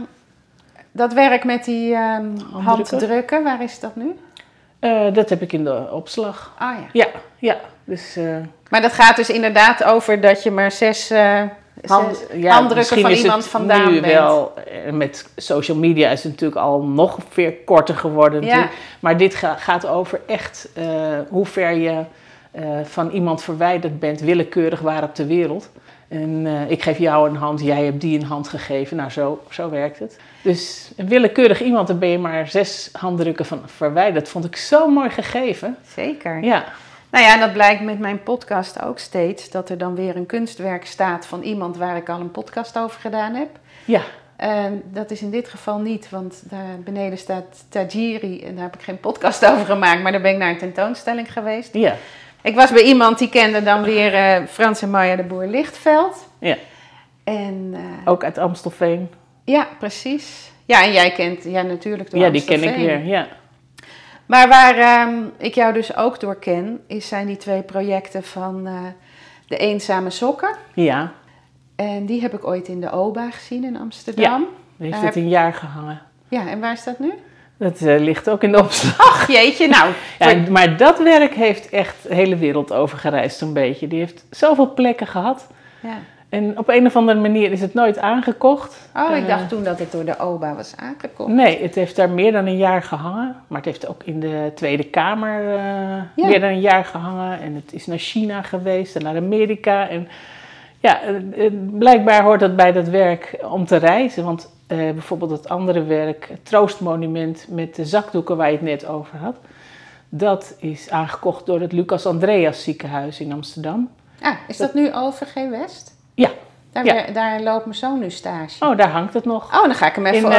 [SPEAKER 2] dat werk met die ehm handdrukken, waar is dat nu?
[SPEAKER 1] Eh, dat heb ik in de opslag.
[SPEAKER 2] Ah ja.
[SPEAKER 1] Ja, ja. Dus eh,
[SPEAKER 2] Maar dat gaat dus inderdaad over dat je maar zes, eh, zes
[SPEAKER 1] hand- ja,
[SPEAKER 2] handdrukken
[SPEAKER 1] misschien
[SPEAKER 2] van
[SPEAKER 1] is het
[SPEAKER 2] iemand vandaan
[SPEAKER 1] nu
[SPEAKER 2] bent.
[SPEAKER 1] wel. eh, Met social media is het natuurlijk al nog veel korter geworden.
[SPEAKER 2] Ja.
[SPEAKER 1] natuurlijk. Maar dit ga- gaat over echt eh, hoe ver je eh, van iemand verwijderd bent, willekeurig waar op de wereld. En eh, ik geef jou een hand, jij hebt die een hand gegeven. Nou, zo, zo werkt het. Dus een willekeurig iemand, daar ben je maar zes handdrukken van verwijderd. Vond ik zo mooi gegeven.
[SPEAKER 2] Zeker.
[SPEAKER 1] Ja,
[SPEAKER 2] Nou ja, en dat blijkt met mijn podcast ook steeds. Dat er dan weer een kunstwerk staat van iemand waar ik al een podcast over gedaan heb.
[SPEAKER 1] ja.
[SPEAKER 2] En dat is in dit geval niet, want daar beneden staat Tajiri. En daar heb ik geen podcast (laughs) over gemaakt, maar daar ben ik naar een tentoonstelling geweest.
[SPEAKER 1] ja.
[SPEAKER 2] Ik was bij iemand die kende dan weer eh, Frans en Maya de Boer Lichtveld.
[SPEAKER 1] Ja.
[SPEAKER 2] En eh,
[SPEAKER 1] Ook uit Amstelveen.
[SPEAKER 2] ja, precies. Ja, en jij kent, ja natuurlijk door
[SPEAKER 1] ja, die ken ik
[SPEAKER 2] Amstelveen.
[SPEAKER 1] weer. Ja.
[SPEAKER 2] Maar waar ehm, ik jou dus ook door ken, is, zijn die twee projecten van eh, de eenzame sokken.
[SPEAKER 1] ja.
[SPEAKER 2] En die heb ik ooit in de OBA gezien in Amsterdam.
[SPEAKER 1] Heeft
[SPEAKER 2] Daar
[SPEAKER 1] het
[SPEAKER 2] heb-
[SPEAKER 1] een jaar gehangen.
[SPEAKER 2] Ja, en waar is dat nu?
[SPEAKER 1] Dat eh, ligt ook in de opslag.
[SPEAKER 2] (laughs) Ach, jeetje, nou.
[SPEAKER 1] Ja, en- maar dat werk heeft echt de hele wereld overgereisd een beetje. Die heeft zoveel plekken gehad.
[SPEAKER 2] Ja.
[SPEAKER 1] En op een of andere manier is het nooit aangekocht.
[SPEAKER 2] Oh, ik
[SPEAKER 1] Eh,
[SPEAKER 2] dacht toen dat het door de OBA was aangekomen.
[SPEAKER 1] Nee, het heeft daar meer dan een jaar gehangen. Maar het heeft ook in de Tweede Kamer eh, meer dan een jaar gehangen. En het is naar China geweest en naar Amerika. En ja, eh, eh, blijkbaar hoort dat bij dat werk om te reizen. Want eh, bijvoorbeeld dat andere werk, het Troostmonument met de zakdoeken waar je het net over had. Dat is aangekocht door het Lucas Andreas ziekenhuis in Amsterdam.
[SPEAKER 2] Ah, is dat nu OVG West?
[SPEAKER 1] Ja.
[SPEAKER 2] Daar,
[SPEAKER 1] Mm. Ja.
[SPEAKER 2] wer- daar loopt mijn zoon nu stage.
[SPEAKER 1] Oh, daar hangt het nog.
[SPEAKER 2] Oh, dan ga ik hem
[SPEAKER 1] In
[SPEAKER 2] even...
[SPEAKER 1] eh,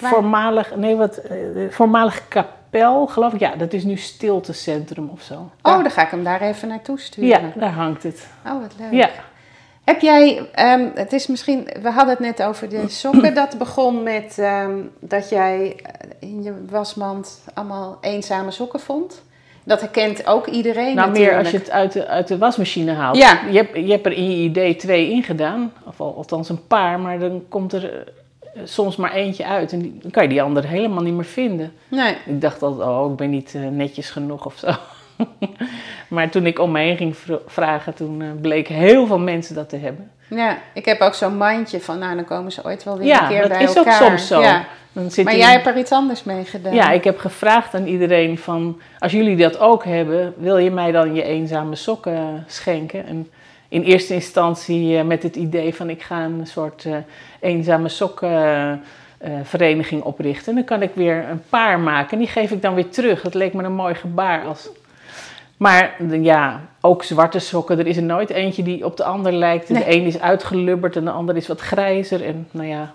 [SPEAKER 2] waar-
[SPEAKER 1] voormalig, nee, wat, eh, voormalig kapel, geloof ik. Ja, dat is nu stiltecentrum of zo.
[SPEAKER 2] Oh, dan ga ik hem daar even naartoe
[SPEAKER 1] Ja,
[SPEAKER 2] sturen.
[SPEAKER 1] daar hangt het.
[SPEAKER 2] Oh, wat leuk.
[SPEAKER 1] Ja,
[SPEAKER 2] Heb jij, ehm, het is misschien, we hadden het net
[SPEAKER 1] (clears throat)
[SPEAKER 2] over de sokken. Dat begon met ehm, dat jij eh, in je wasmand allemaal eenzame sokken vond. Dat herkent ook iedereen
[SPEAKER 1] nou meer
[SPEAKER 2] natuurlijk.
[SPEAKER 1] als je het uit de, uit de wasmachine haalt.
[SPEAKER 2] Ja.
[SPEAKER 1] Je, hebt, je hebt er in je idee twee in gedaan, of al- althans een paar, maar dan komt er eh, soms maar eentje uit. En die, dan kan je die andere helemaal niet meer vinden.
[SPEAKER 2] Nee,
[SPEAKER 1] Ik dacht altijd, oh, ik ben niet eh, netjes genoeg of zo. (laughs) maar toen ik om me heen ging vro- vragen, toen eh, bleek heel veel mensen dat te hebben.
[SPEAKER 2] ja, ik heb ook zo'n mandje van, nou dan komen ze ooit wel weer een
[SPEAKER 1] Ja,
[SPEAKER 2] keer
[SPEAKER 1] dat
[SPEAKER 2] bij
[SPEAKER 1] is ook
[SPEAKER 2] elkaar.
[SPEAKER 1] soms zo.
[SPEAKER 2] Ja.
[SPEAKER 1] Dan zit
[SPEAKER 2] Maar
[SPEAKER 1] die-
[SPEAKER 2] jij hebt er iets anders mee gedaan.
[SPEAKER 1] Ja, ik heb gevraagd aan iedereen van, als jullie dat ook hebben, wil je mij dan je eenzame sokken schenken? En in eerste instantie eh, met het idee van, ik ga een soort eh, eenzame sokkenvereniging oprichten. En dan kan ik weer een paar maken en die geef ik dan weer terug. Dat leek me een mooi gebaar als... Maar de- ja, ook zwarte sokken. Er is er nooit eentje die op de ander lijkt.
[SPEAKER 2] Nee.
[SPEAKER 1] De een is uitgelubberd en de ander is wat grijzer. En nou ja.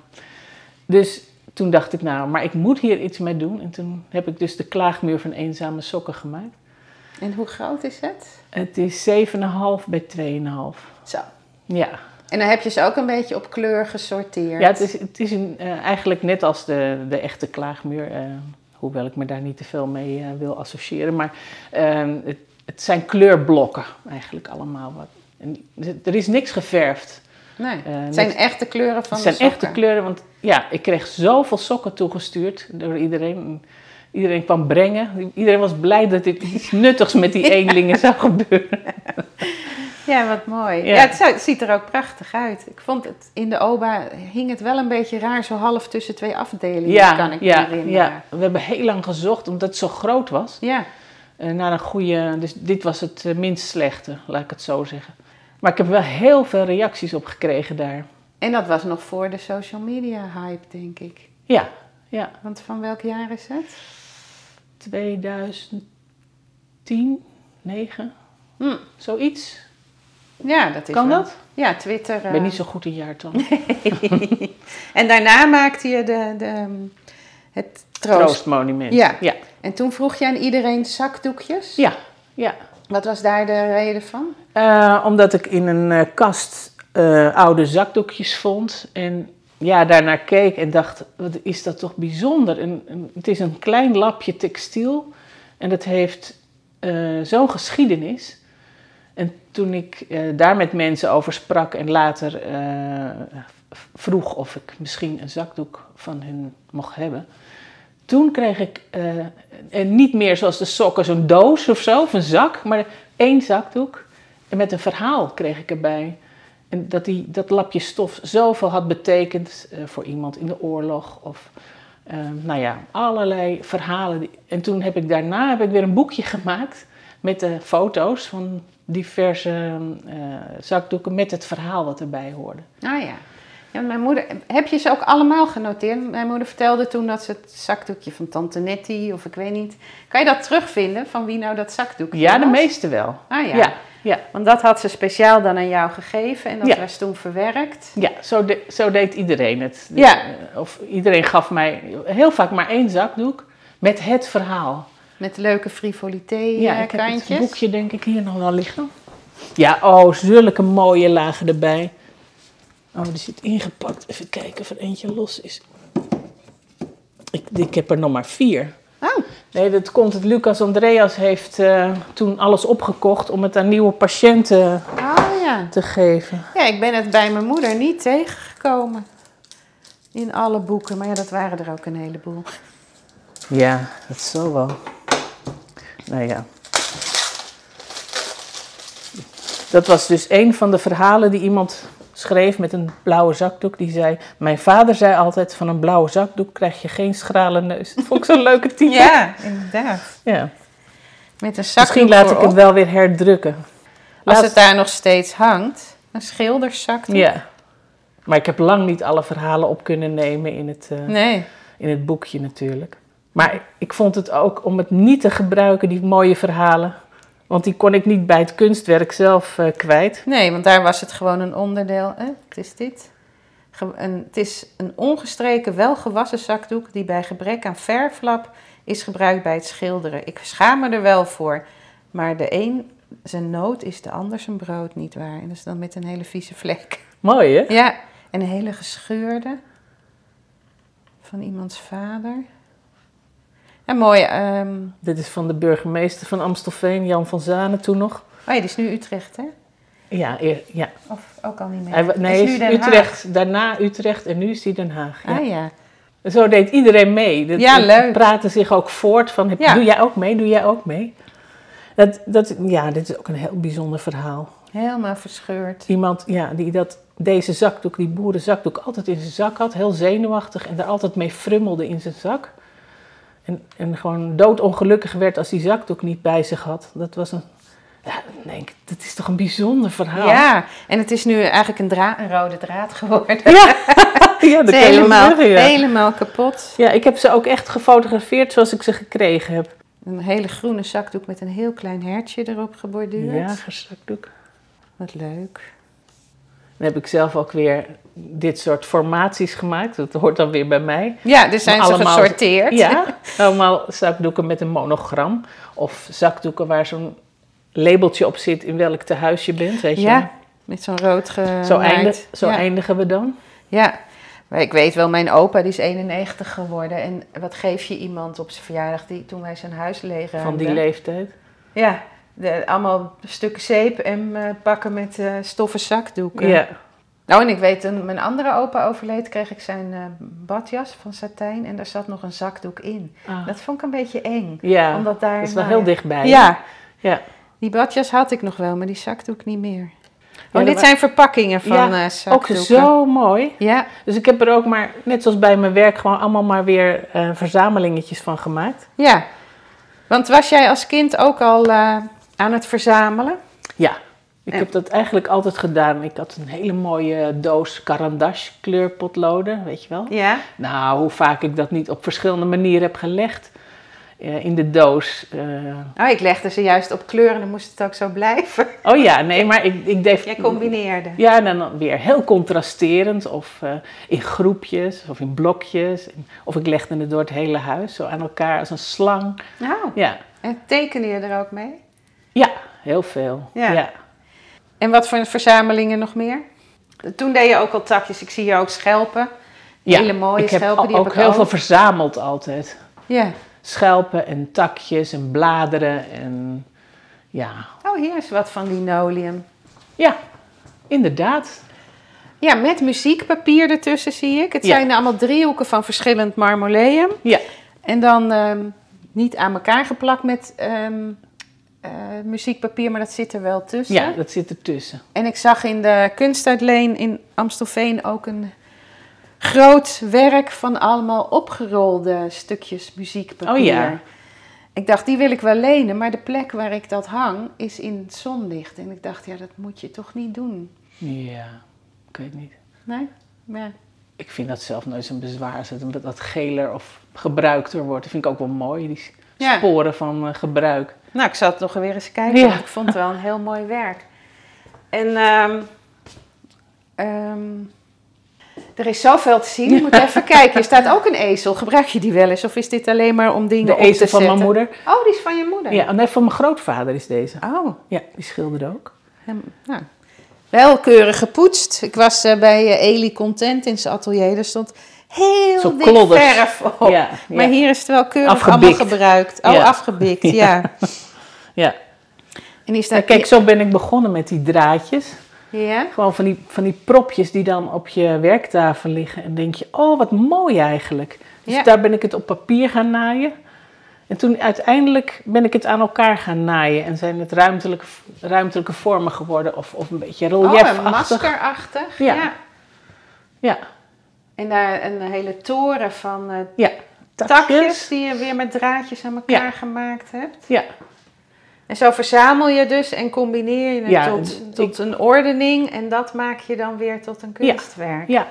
[SPEAKER 1] Dus toen dacht ik, nou, maar ik moet hier iets mee doen. En toen heb ik dus de klaagmuur van eenzame sokken gemaakt.
[SPEAKER 2] En hoe groot is het?
[SPEAKER 1] Het is 7,5 bij 2,5.
[SPEAKER 2] Zo.
[SPEAKER 1] Ja,
[SPEAKER 2] En dan heb je ze ook een beetje op kleur gesorteerd.
[SPEAKER 1] ja het is, het is een, eh, eigenlijk net als de, de echte klaagmuur. eh, hoewel ik me daar niet te veel mee eh, wil associëren. Maar eh, het, het zijn kleurblokken eigenlijk allemaal. Wat. En er is niks geverfd.
[SPEAKER 2] Nee,
[SPEAKER 1] Eh,
[SPEAKER 2] het zijn
[SPEAKER 1] net-
[SPEAKER 2] echt de kleuren
[SPEAKER 1] Het
[SPEAKER 2] van de
[SPEAKER 1] zijn
[SPEAKER 2] sokken.
[SPEAKER 1] echte kleuren, want ja, ik kreeg zoveel sokken toegestuurd door iedereen. Iedereen kwam brengen. Iedereen was blij dat ik iets
[SPEAKER 2] (laughs)
[SPEAKER 1] nuttigs met die eenlingen zou gebeuren.
[SPEAKER 2] Ja, wat mooi. Ja,
[SPEAKER 1] Ja.
[SPEAKER 2] het, zou- het ziet er ook prachtig uit. Ik vond het in de OBA hing het wel een beetje raar, zo half tussen twee afdelingen, kan ik me
[SPEAKER 1] ja,
[SPEAKER 2] herinneren.
[SPEAKER 1] ja. We hebben heel lang gezocht, omdat het zo groot was.
[SPEAKER 2] Ja.
[SPEAKER 1] eh, naar een goede, dus dit was het eh, minst slechte, laat ik het zo zeggen. Maar ik heb wel heel veel reacties op gekregen daar.
[SPEAKER 2] En dat was nog voor de social media hype, denk ik.
[SPEAKER 1] Ja, ja.
[SPEAKER 2] Want van welk jaar is het?
[SPEAKER 1] 2010, 9,
[SPEAKER 2] Hm.
[SPEAKER 1] zoiets.
[SPEAKER 2] Ja, dat is
[SPEAKER 1] Kan
[SPEAKER 2] wel-
[SPEAKER 1] dat?
[SPEAKER 2] Ja, Twitter. eh.
[SPEAKER 1] Ik ben niet zo goed in jaartal.
[SPEAKER 2] en daarna maakte je de, de, het troost.
[SPEAKER 1] Troostmonument.
[SPEAKER 2] Ja.
[SPEAKER 1] ja.
[SPEAKER 2] En toen vroeg je aan iedereen zakdoekjes.
[SPEAKER 1] Ja, ja.
[SPEAKER 2] Wat was daar de reden van?
[SPEAKER 1] Eh, omdat ik in een eh, kast eh, oude zakdoekjes vond. En ja, daarnaar keek en dacht, wat is dat toch bijzonder. En, en het is een klein lapje textiel. En dat heeft eh, zo'n geschiedenis. En toen ik eh, daar met mensen over sprak en later eh, v- vroeg of ik misschien een zakdoek van hun mocht hebben. Toen kreeg ik, eh, en niet meer zoals de sokken, zo'n doos of zo, of een zak, maar één zakdoek. En met een verhaal kreeg ik erbij. En dat die, dat lapje stof zoveel had betekend eh, voor iemand in de oorlog. Of eh, nou ja, allerlei verhalen. die- En toen heb ik daarna heb ik weer een boekje (laughs) gemaakt met de foto's van diverse eh, zakdoeken met het verhaal wat erbij hoorde.
[SPEAKER 2] Ah ja. ja mijn moeder, heb je ze ook allemaal genoteerd? Mijn moeder vertelde toen dat ze het zakdoekje van Tante Nettie of ik weet niet. Kan je dat terugvinden van wie nou dat zakdoekje
[SPEAKER 1] Ja, de
[SPEAKER 2] was?
[SPEAKER 1] meeste wel.
[SPEAKER 2] Ah ja.
[SPEAKER 1] ja, ja.
[SPEAKER 2] Want dat had ze speciaal dan aan jou gegeven en dat
[SPEAKER 1] Ja.
[SPEAKER 2] was toen verwerkt.
[SPEAKER 1] Ja, zo, de- zo deed iedereen het.
[SPEAKER 2] Ja.
[SPEAKER 1] Eh, Of iedereen gaf mij heel vaak maar één zakdoek met het verhaal.
[SPEAKER 2] Met leuke frivolité
[SPEAKER 1] ja,
[SPEAKER 2] eh,
[SPEAKER 1] ik heb het
[SPEAKER 2] kantjes.
[SPEAKER 1] boekje denk ik hier nog wel liggen. Ja, oh, zulke mooie lagen erbij. Oh, die zit ingepakt. Even kijken of er eentje los is. Ik, ik heb er nog maar vier.
[SPEAKER 2] Oh,
[SPEAKER 1] Nee, dat komt. Het Lucas Andreas heeft eh, toen alles opgekocht om het aan nieuwe patiënten
[SPEAKER 2] oh ja.
[SPEAKER 1] te geven.
[SPEAKER 2] Ja, ik ben het bij mijn moeder niet tegengekomen. In alle boeken, maar ja, dat waren er ook een
[SPEAKER 1] (laughs)
[SPEAKER 2] heleboel.
[SPEAKER 1] Ja, dat zal wel. Nou ja. Dat was dus een van de verhalen die iemand schreef met een blauwe zakdoek. Die zei, mijn vader zei altijd, van een blauwe zakdoek krijg je geen schrale neus. Dat vond ik zo'n leuke titel.
[SPEAKER 2] Ja, inderdaad.
[SPEAKER 1] Ja.
[SPEAKER 2] Met een zakdoek
[SPEAKER 1] Misschien laat ik
[SPEAKER 2] voorop.
[SPEAKER 1] het wel weer herdrukken.
[SPEAKER 2] Als
[SPEAKER 1] Laat-
[SPEAKER 2] het daar nog steeds hangt, een schilderszakdoek.
[SPEAKER 1] Ja. Maar ik heb lang niet alle verhalen op kunnen nemen in het... eh,
[SPEAKER 2] Nee.
[SPEAKER 1] in het boekje natuurlijk. Maar ik vond het ook om het niet te gebruiken, die mooie verhalen. Want die kon ik niet bij het kunstwerk zelf eh, kwijt.
[SPEAKER 2] nee, want daar was het gewoon een onderdeel. Hè? Wat is dit? Ge- een, het is een ongestreken, welgewassen zakdoek die bij gebrek aan verflap is gebruikt bij het schilderen. Ik schaam me er wel voor, maar de een zijn nood is de ander zijn brood, niet waar? En dat is dan met een hele vieze vlek.
[SPEAKER 1] Mooi hè?
[SPEAKER 2] Ja, en een hele gescheurde van iemands vader. En mooi. ehm,
[SPEAKER 1] Dit is van de burgemeester van Amstelveen, Jan van Zanen toen nog.
[SPEAKER 2] oh ja, die is nu Utrecht, hè?
[SPEAKER 1] Ja, eer- ja.
[SPEAKER 2] Of ook al niet meer.
[SPEAKER 1] Hij, wa- nee,
[SPEAKER 2] Dat
[SPEAKER 1] is
[SPEAKER 2] nu Den Haag.
[SPEAKER 1] Utrecht, daarna Utrecht en nu is hij Den Haag. Ja.
[SPEAKER 2] Ah ja.
[SPEAKER 1] Zo deed iedereen mee. Dat,
[SPEAKER 2] Ja,
[SPEAKER 1] dat
[SPEAKER 2] leuk.
[SPEAKER 1] praten zich ook voort van, heb-
[SPEAKER 2] Ja.
[SPEAKER 1] doe jij ook mee, doe jij ook mee. Dat, dat, ja, dit is ook een heel bijzonder verhaal.
[SPEAKER 2] Helemaal verscheurd.
[SPEAKER 1] Iemand ja, die dat, deze zakdoek, die boerenzakdoek, altijd in zijn zak had. Heel zenuwachtig en daar altijd mee frummelde in zijn zak. En, en gewoon doodongelukkig werd als die zakdoek niet bij zich had. Dat was een... Ja, dan denk ik, dat is toch een bijzonder verhaal.
[SPEAKER 2] Ja, en het is nu eigenlijk een, dra- een rode draad geworden.
[SPEAKER 1] (laughs) ja. ja
[SPEAKER 2] Het
[SPEAKER 1] dat
[SPEAKER 2] is
[SPEAKER 1] kan je wel
[SPEAKER 2] helemaal,
[SPEAKER 1] zeggen, ja.
[SPEAKER 2] helemaal kapot.
[SPEAKER 1] ja, ik heb ze ook echt gefotografeerd zoals ik ze gekregen heb.
[SPEAKER 2] Een hele groene zakdoek met een heel klein hertje erop geborduurd.
[SPEAKER 1] Jagerzakdoek.
[SPEAKER 2] Wat leuk.
[SPEAKER 1] Dan heb ik zelf ook weer dit soort formaties gemaakt. Dat hoort dan weer bij mij.
[SPEAKER 2] Ja, er zijn ze
[SPEAKER 1] Allemaal-
[SPEAKER 2] gesorteerd.
[SPEAKER 1] Ja, allemaal zakdoeken met een monogram. Of zakdoeken waar zo'n labeltje op zit in welk tehuis je bent, weet je.
[SPEAKER 2] Ja, met zo'n rood ge.
[SPEAKER 1] Zo, eindig, zo
[SPEAKER 2] ja.
[SPEAKER 1] eindigen we dan.
[SPEAKER 2] Ja, maar ik weet wel, mijn opa die is 91 geworden. En wat geef je iemand op zijn verjaardag die, toen wij zijn huis leegruimden?
[SPEAKER 1] Van die leeftijd.
[SPEAKER 2] Ja, de, allemaal stukken zeep en eh, pakken met eh, stoffen zakdoeken.
[SPEAKER 1] Ja.
[SPEAKER 2] Nou, en ik weet, toen mijn andere opa overleed, kreeg ik zijn eh, badjas van satijn. En daar zat nog een zakdoek in.
[SPEAKER 1] Ah.
[SPEAKER 2] Dat vond ik een beetje eng.
[SPEAKER 1] ja,
[SPEAKER 2] omdat daar,
[SPEAKER 1] dat is wel
[SPEAKER 2] nou
[SPEAKER 1] heel
[SPEAKER 2] ja.
[SPEAKER 1] dichtbij.
[SPEAKER 2] Ja.
[SPEAKER 1] Ja.
[SPEAKER 2] Die badjas had ik nog wel, maar die zakdoek niet meer.
[SPEAKER 1] Ja,
[SPEAKER 2] Oh,
[SPEAKER 1] er
[SPEAKER 2] dit
[SPEAKER 1] wa-
[SPEAKER 2] zijn verpakkingen van
[SPEAKER 1] Ja,
[SPEAKER 2] eh,
[SPEAKER 1] Ook
[SPEAKER 2] zakdoeken.
[SPEAKER 1] zo mooi.
[SPEAKER 2] Ja,
[SPEAKER 1] Dus ik heb er ook maar, net zoals bij mijn werk, gewoon allemaal maar weer eh, verzamelingetjes van gemaakt.
[SPEAKER 2] Ja, want was jij als kind ook al eh, aan het verzamelen?
[SPEAKER 1] Ja, ik
[SPEAKER 2] Ja.
[SPEAKER 1] heb dat eigenlijk altijd gedaan. Ik had een hele mooie doos Carandash kleurpotloden, weet je wel.
[SPEAKER 2] Ja.
[SPEAKER 1] Nou, hoe vaak ik dat niet op verschillende manieren heb gelegd. eh, in de doos. eh.
[SPEAKER 2] Oh, ik legde ze juist op kleur en dan moest het ook zo blijven. (laughs)
[SPEAKER 1] oh ja, nee, maar ik, ik deed...
[SPEAKER 2] Jij combineerde.
[SPEAKER 1] Ja, en dan weer heel contrasterend. Of eh, in groepjes, of in blokjes. Of ik legde het door het hele huis, zo aan elkaar als een slang.
[SPEAKER 2] Nou,
[SPEAKER 1] Ja,
[SPEAKER 2] en teken je er ook mee?
[SPEAKER 1] ja heel veel.
[SPEAKER 2] Ja.
[SPEAKER 1] ja.
[SPEAKER 2] En wat voor verzamelingen nog meer? Toen deed je ook al takjes. Ik zie hier ook schelpen.
[SPEAKER 1] Ja,
[SPEAKER 2] Hele mooie
[SPEAKER 1] ik heb
[SPEAKER 2] schelpen. Die
[SPEAKER 1] ook
[SPEAKER 2] heb ik
[SPEAKER 1] heel
[SPEAKER 2] ook.
[SPEAKER 1] veel verzameld altijd.
[SPEAKER 2] Ja.
[SPEAKER 1] Schelpen en takjes en bladeren en ja,
[SPEAKER 2] Oh, hier is wat van linoleum.
[SPEAKER 1] ja, inderdaad.
[SPEAKER 2] Ja, met muziekpapier ertussen zie ik. Het
[SPEAKER 1] Ja.
[SPEAKER 2] zijn allemaal driehoeken van verschillend marmoleum.
[SPEAKER 1] Ja,
[SPEAKER 2] En dan ehm, niet aan elkaar geplakt met ehm, eh, muziekpapier, maar dat zit er wel tussen.
[SPEAKER 1] ja, dat zit ertussen.
[SPEAKER 2] En ik zag in de kunstuitleen in Amstelveen ook een groot werk van allemaal opgerolde stukjes muziekpapier.
[SPEAKER 1] Oh ja.
[SPEAKER 2] Ik dacht, die wil ik wel lenen, maar de plek waar ik dat hang is in het zonlicht. En ik dacht, ja, dat moet je toch niet doen.
[SPEAKER 1] Ja, ik weet niet.
[SPEAKER 2] Nee? Ja.
[SPEAKER 1] Ik vind dat zelf nooit zo'n bezwaar als het dat geler of gebruikter wordt. Dat vind ik ook wel mooi, die
[SPEAKER 2] Ja.
[SPEAKER 1] sporen van eh, gebruik.
[SPEAKER 2] Nou, ik zal het nog weer eens kijken.
[SPEAKER 1] Ja.
[SPEAKER 2] want Ik vond het wel een heel (laughs) mooi werk. En ehm, ehm, er is zoveel te zien. (laughs) Je moet even kijken. Hier staat ook een ezel. Gebruik je die wel eens? Of is dit alleen maar om dingen
[SPEAKER 1] De
[SPEAKER 2] op te
[SPEAKER 1] ezel
[SPEAKER 2] zetten?
[SPEAKER 1] van mijn moeder.
[SPEAKER 2] Oh, die is van je moeder?
[SPEAKER 1] Ja, nee, van mijn grootvader is deze.
[SPEAKER 2] Oh,
[SPEAKER 1] Ja, die schilderde ook.
[SPEAKER 2] hem, nou. Wel keurig gepoetst. Ik was eh, bij eh, Eli Content in zijn atelier. Daar stond heel
[SPEAKER 1] Zo
[SPEAKER 2] dik
[SPEAKER 1] klodders.
[SPEAKER 2] verf
[SPEAKER 1] Ja,
[SPEAKER 2] op.
[SPEAKER 1] ja.
[SPEAKER 2] Maar hier is het wel keurig
[SPEAKER 1] Afgebikt.
[SPEAKER 2] allemaal gebruikt. Oh,
[SPEAKER 1] Ja.
[SPEAKER 2] afgebikt, (laughs) ja.
[SPEAKER 1] Ja.
[SPEAKER 2] En die
[SPEAKER 1] Nou,
[SPEAKER 2] staat...
[SPEAKER 1] kijk, zo ben ik begonnen met die draadjes.
[SPEAKER 2] Ja?
[SPEAKER 1] Gewoon van die, van die propjes die dan op je werktafel liggen. En denk je, oh wat mooi eigenlijk. Dus
[SPEAKER 2] Ja.
[SPEAKER 1] daar ben ik het op papier gaan naaien. En toen uiteindelijk ben ik het aan elkaar gaan naaien. En zijn het ruimtelijke, ruimtelijke vormen geworden. Of, of een beetje
[SPEAKER 2] Oh,
[SPEAKER 1] reliefachtig.
[SPEAKER 2] een maskerachtig.
[SPEAKER 1] Ja.
[SPEAKER 2] ja.
[SPEAKER 1] Ja,
[SPEAKER 2] En daar een hele toren van eh,
[SPEAKER 1] ja.
[SPEAKER 2] takjes. die je weer met draadjes aan elkaar
[SPEAKER 1] Ja.
[SPEAKER 2] gemaakt hebt.
[SPEAKER 1] Ja,
[SPEAKER 2] En zo verzamel je dus en combineer je het
[SPEAKER 1] Ja,
[SPEAKER 2] tot,
[SPEAKER 1] ik-
[SPEAKER 2] tot een ordening. En dat maak je dan weer tot een
[SPEAKER 1] Ja.
[SPEAKER 2] kunstwerk.
[SPEAKER 1] ja.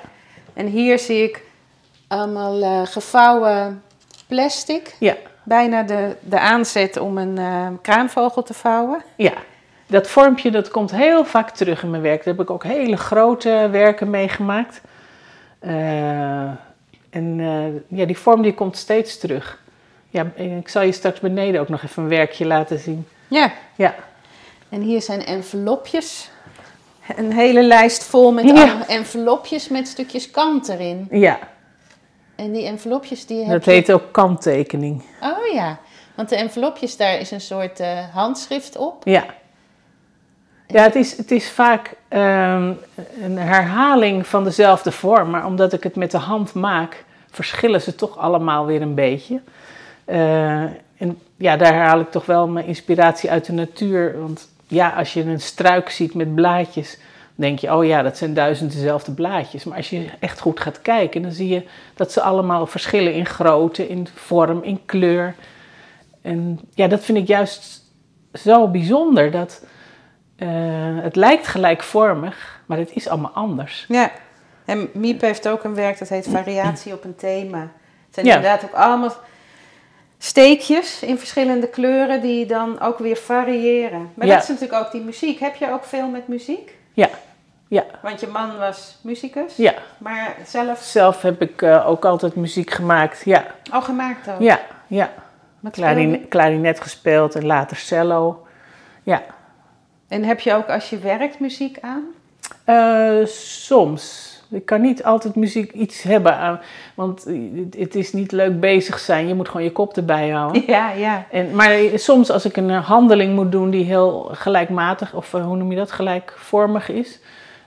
[SPEAKER 2] En hier zie ik allemaal eh, gevouwen plastic.
[SPEAKER 1] Ja,
[SPEAKER 2] Bijna de, de aanzet om een eh, kraanvogel te vouwen.
[SPEAKER 1] ja. Dat vormpje dat komt heel vaak terug in mijn werk. Daar heb ik ook hele grote werken meegemaakt. Eh, en eh, ja, die vorm die komt steeds terug. Ja, ik zal je straks beneden ook nog even een werkje laten zien.
[SPEAKER 2] Ja.
[SPEAKER 1] Ja,
[SPEAKER 2] En hier zijn envelopjes. Een hele lijst vol met
[SPEAKER 1] Ja.
[SPEAKER 2] allemaal envelopjes met stukjes kant erin.
[SPEAKER 1] ja
[SPEAKER 2] En die envelopjes die heb
[SPEAKER 1] dat
[SPEAKER 2] je-
[SPEAKER 1] heet ook kanttekening.
[SPEAKER 2] Oh ja, want de envelopjes daar is een soort eh, handschrift op.
[SPEAKER 1] Ja. Ja, het is, het is vaak ehm, een herhaling van dezelfde vorm, maar omdat ik het met de hand maak, verschillen ze toch allemaal weer een beetje. Eh, en ja, daar haal ik toch wel mijn inspiratie uit de natuur. Want ja, als je een struik ziet met blaadjes, denk je, oh ja, dat zijn duizend dezelfde blaadjes. Maar als je echt goed gaat kijken, dan zie je dat ze allemaal verschillen in grootte, in vorm, in kleur. En ja, dat vind ik juist zo bijzonder dat eh, het lijkt gelijkvormig, maar het is allemaal anders.
[SPEAKER 2] Ja, en Miep heeft ook een werk dat heet Variatie op een thema. Het zijn
[SPEAKER 1] Ja.
[SPEAKER 2] inderdaad ook allemaal steekjes in verschillende kleuren die dan ook weer variëren. Maar
[SPEAKER 1] Ja.
[SPEAKER 2] dat is natuurlijk ook die muziek. Heb je ook veel met muziek?
[SPEAKER 1] Ja, ja,
[SPEAKER 2] Want je man was muzikus,
[SPEAKER 1] ja.
[SPEAKER 2] maar zelf
[SPEAKER 1] Zelf heb ik eh, ook altijd muziek gemaakt. Ja,
[SPEAKER 2] al gemaakt ook.
[SPEAKER 1] ja, ja.
[SPEAKER 2] Wat speelde-
[SPEAKER 1] Klarin, klarinet gespeeld en later cello. Ja,
[SPEAKER 2] En heb je ook als je werkt muziek aan?
[SPEAKER 1] Eh, soms. Ik kan niet altijd muziek iets hebben aan, want het- het is niet leuk bezig zijn. Je moet gewoon je kop erbij houden.
[SPEAKER 2] (laughs) Ja, ja.
[SPEAKER 1] En, maar soms als ik een eh, handeling moet doen die heel gelijkmatig, of eh, hoe noem je dat, gelijkvormig is,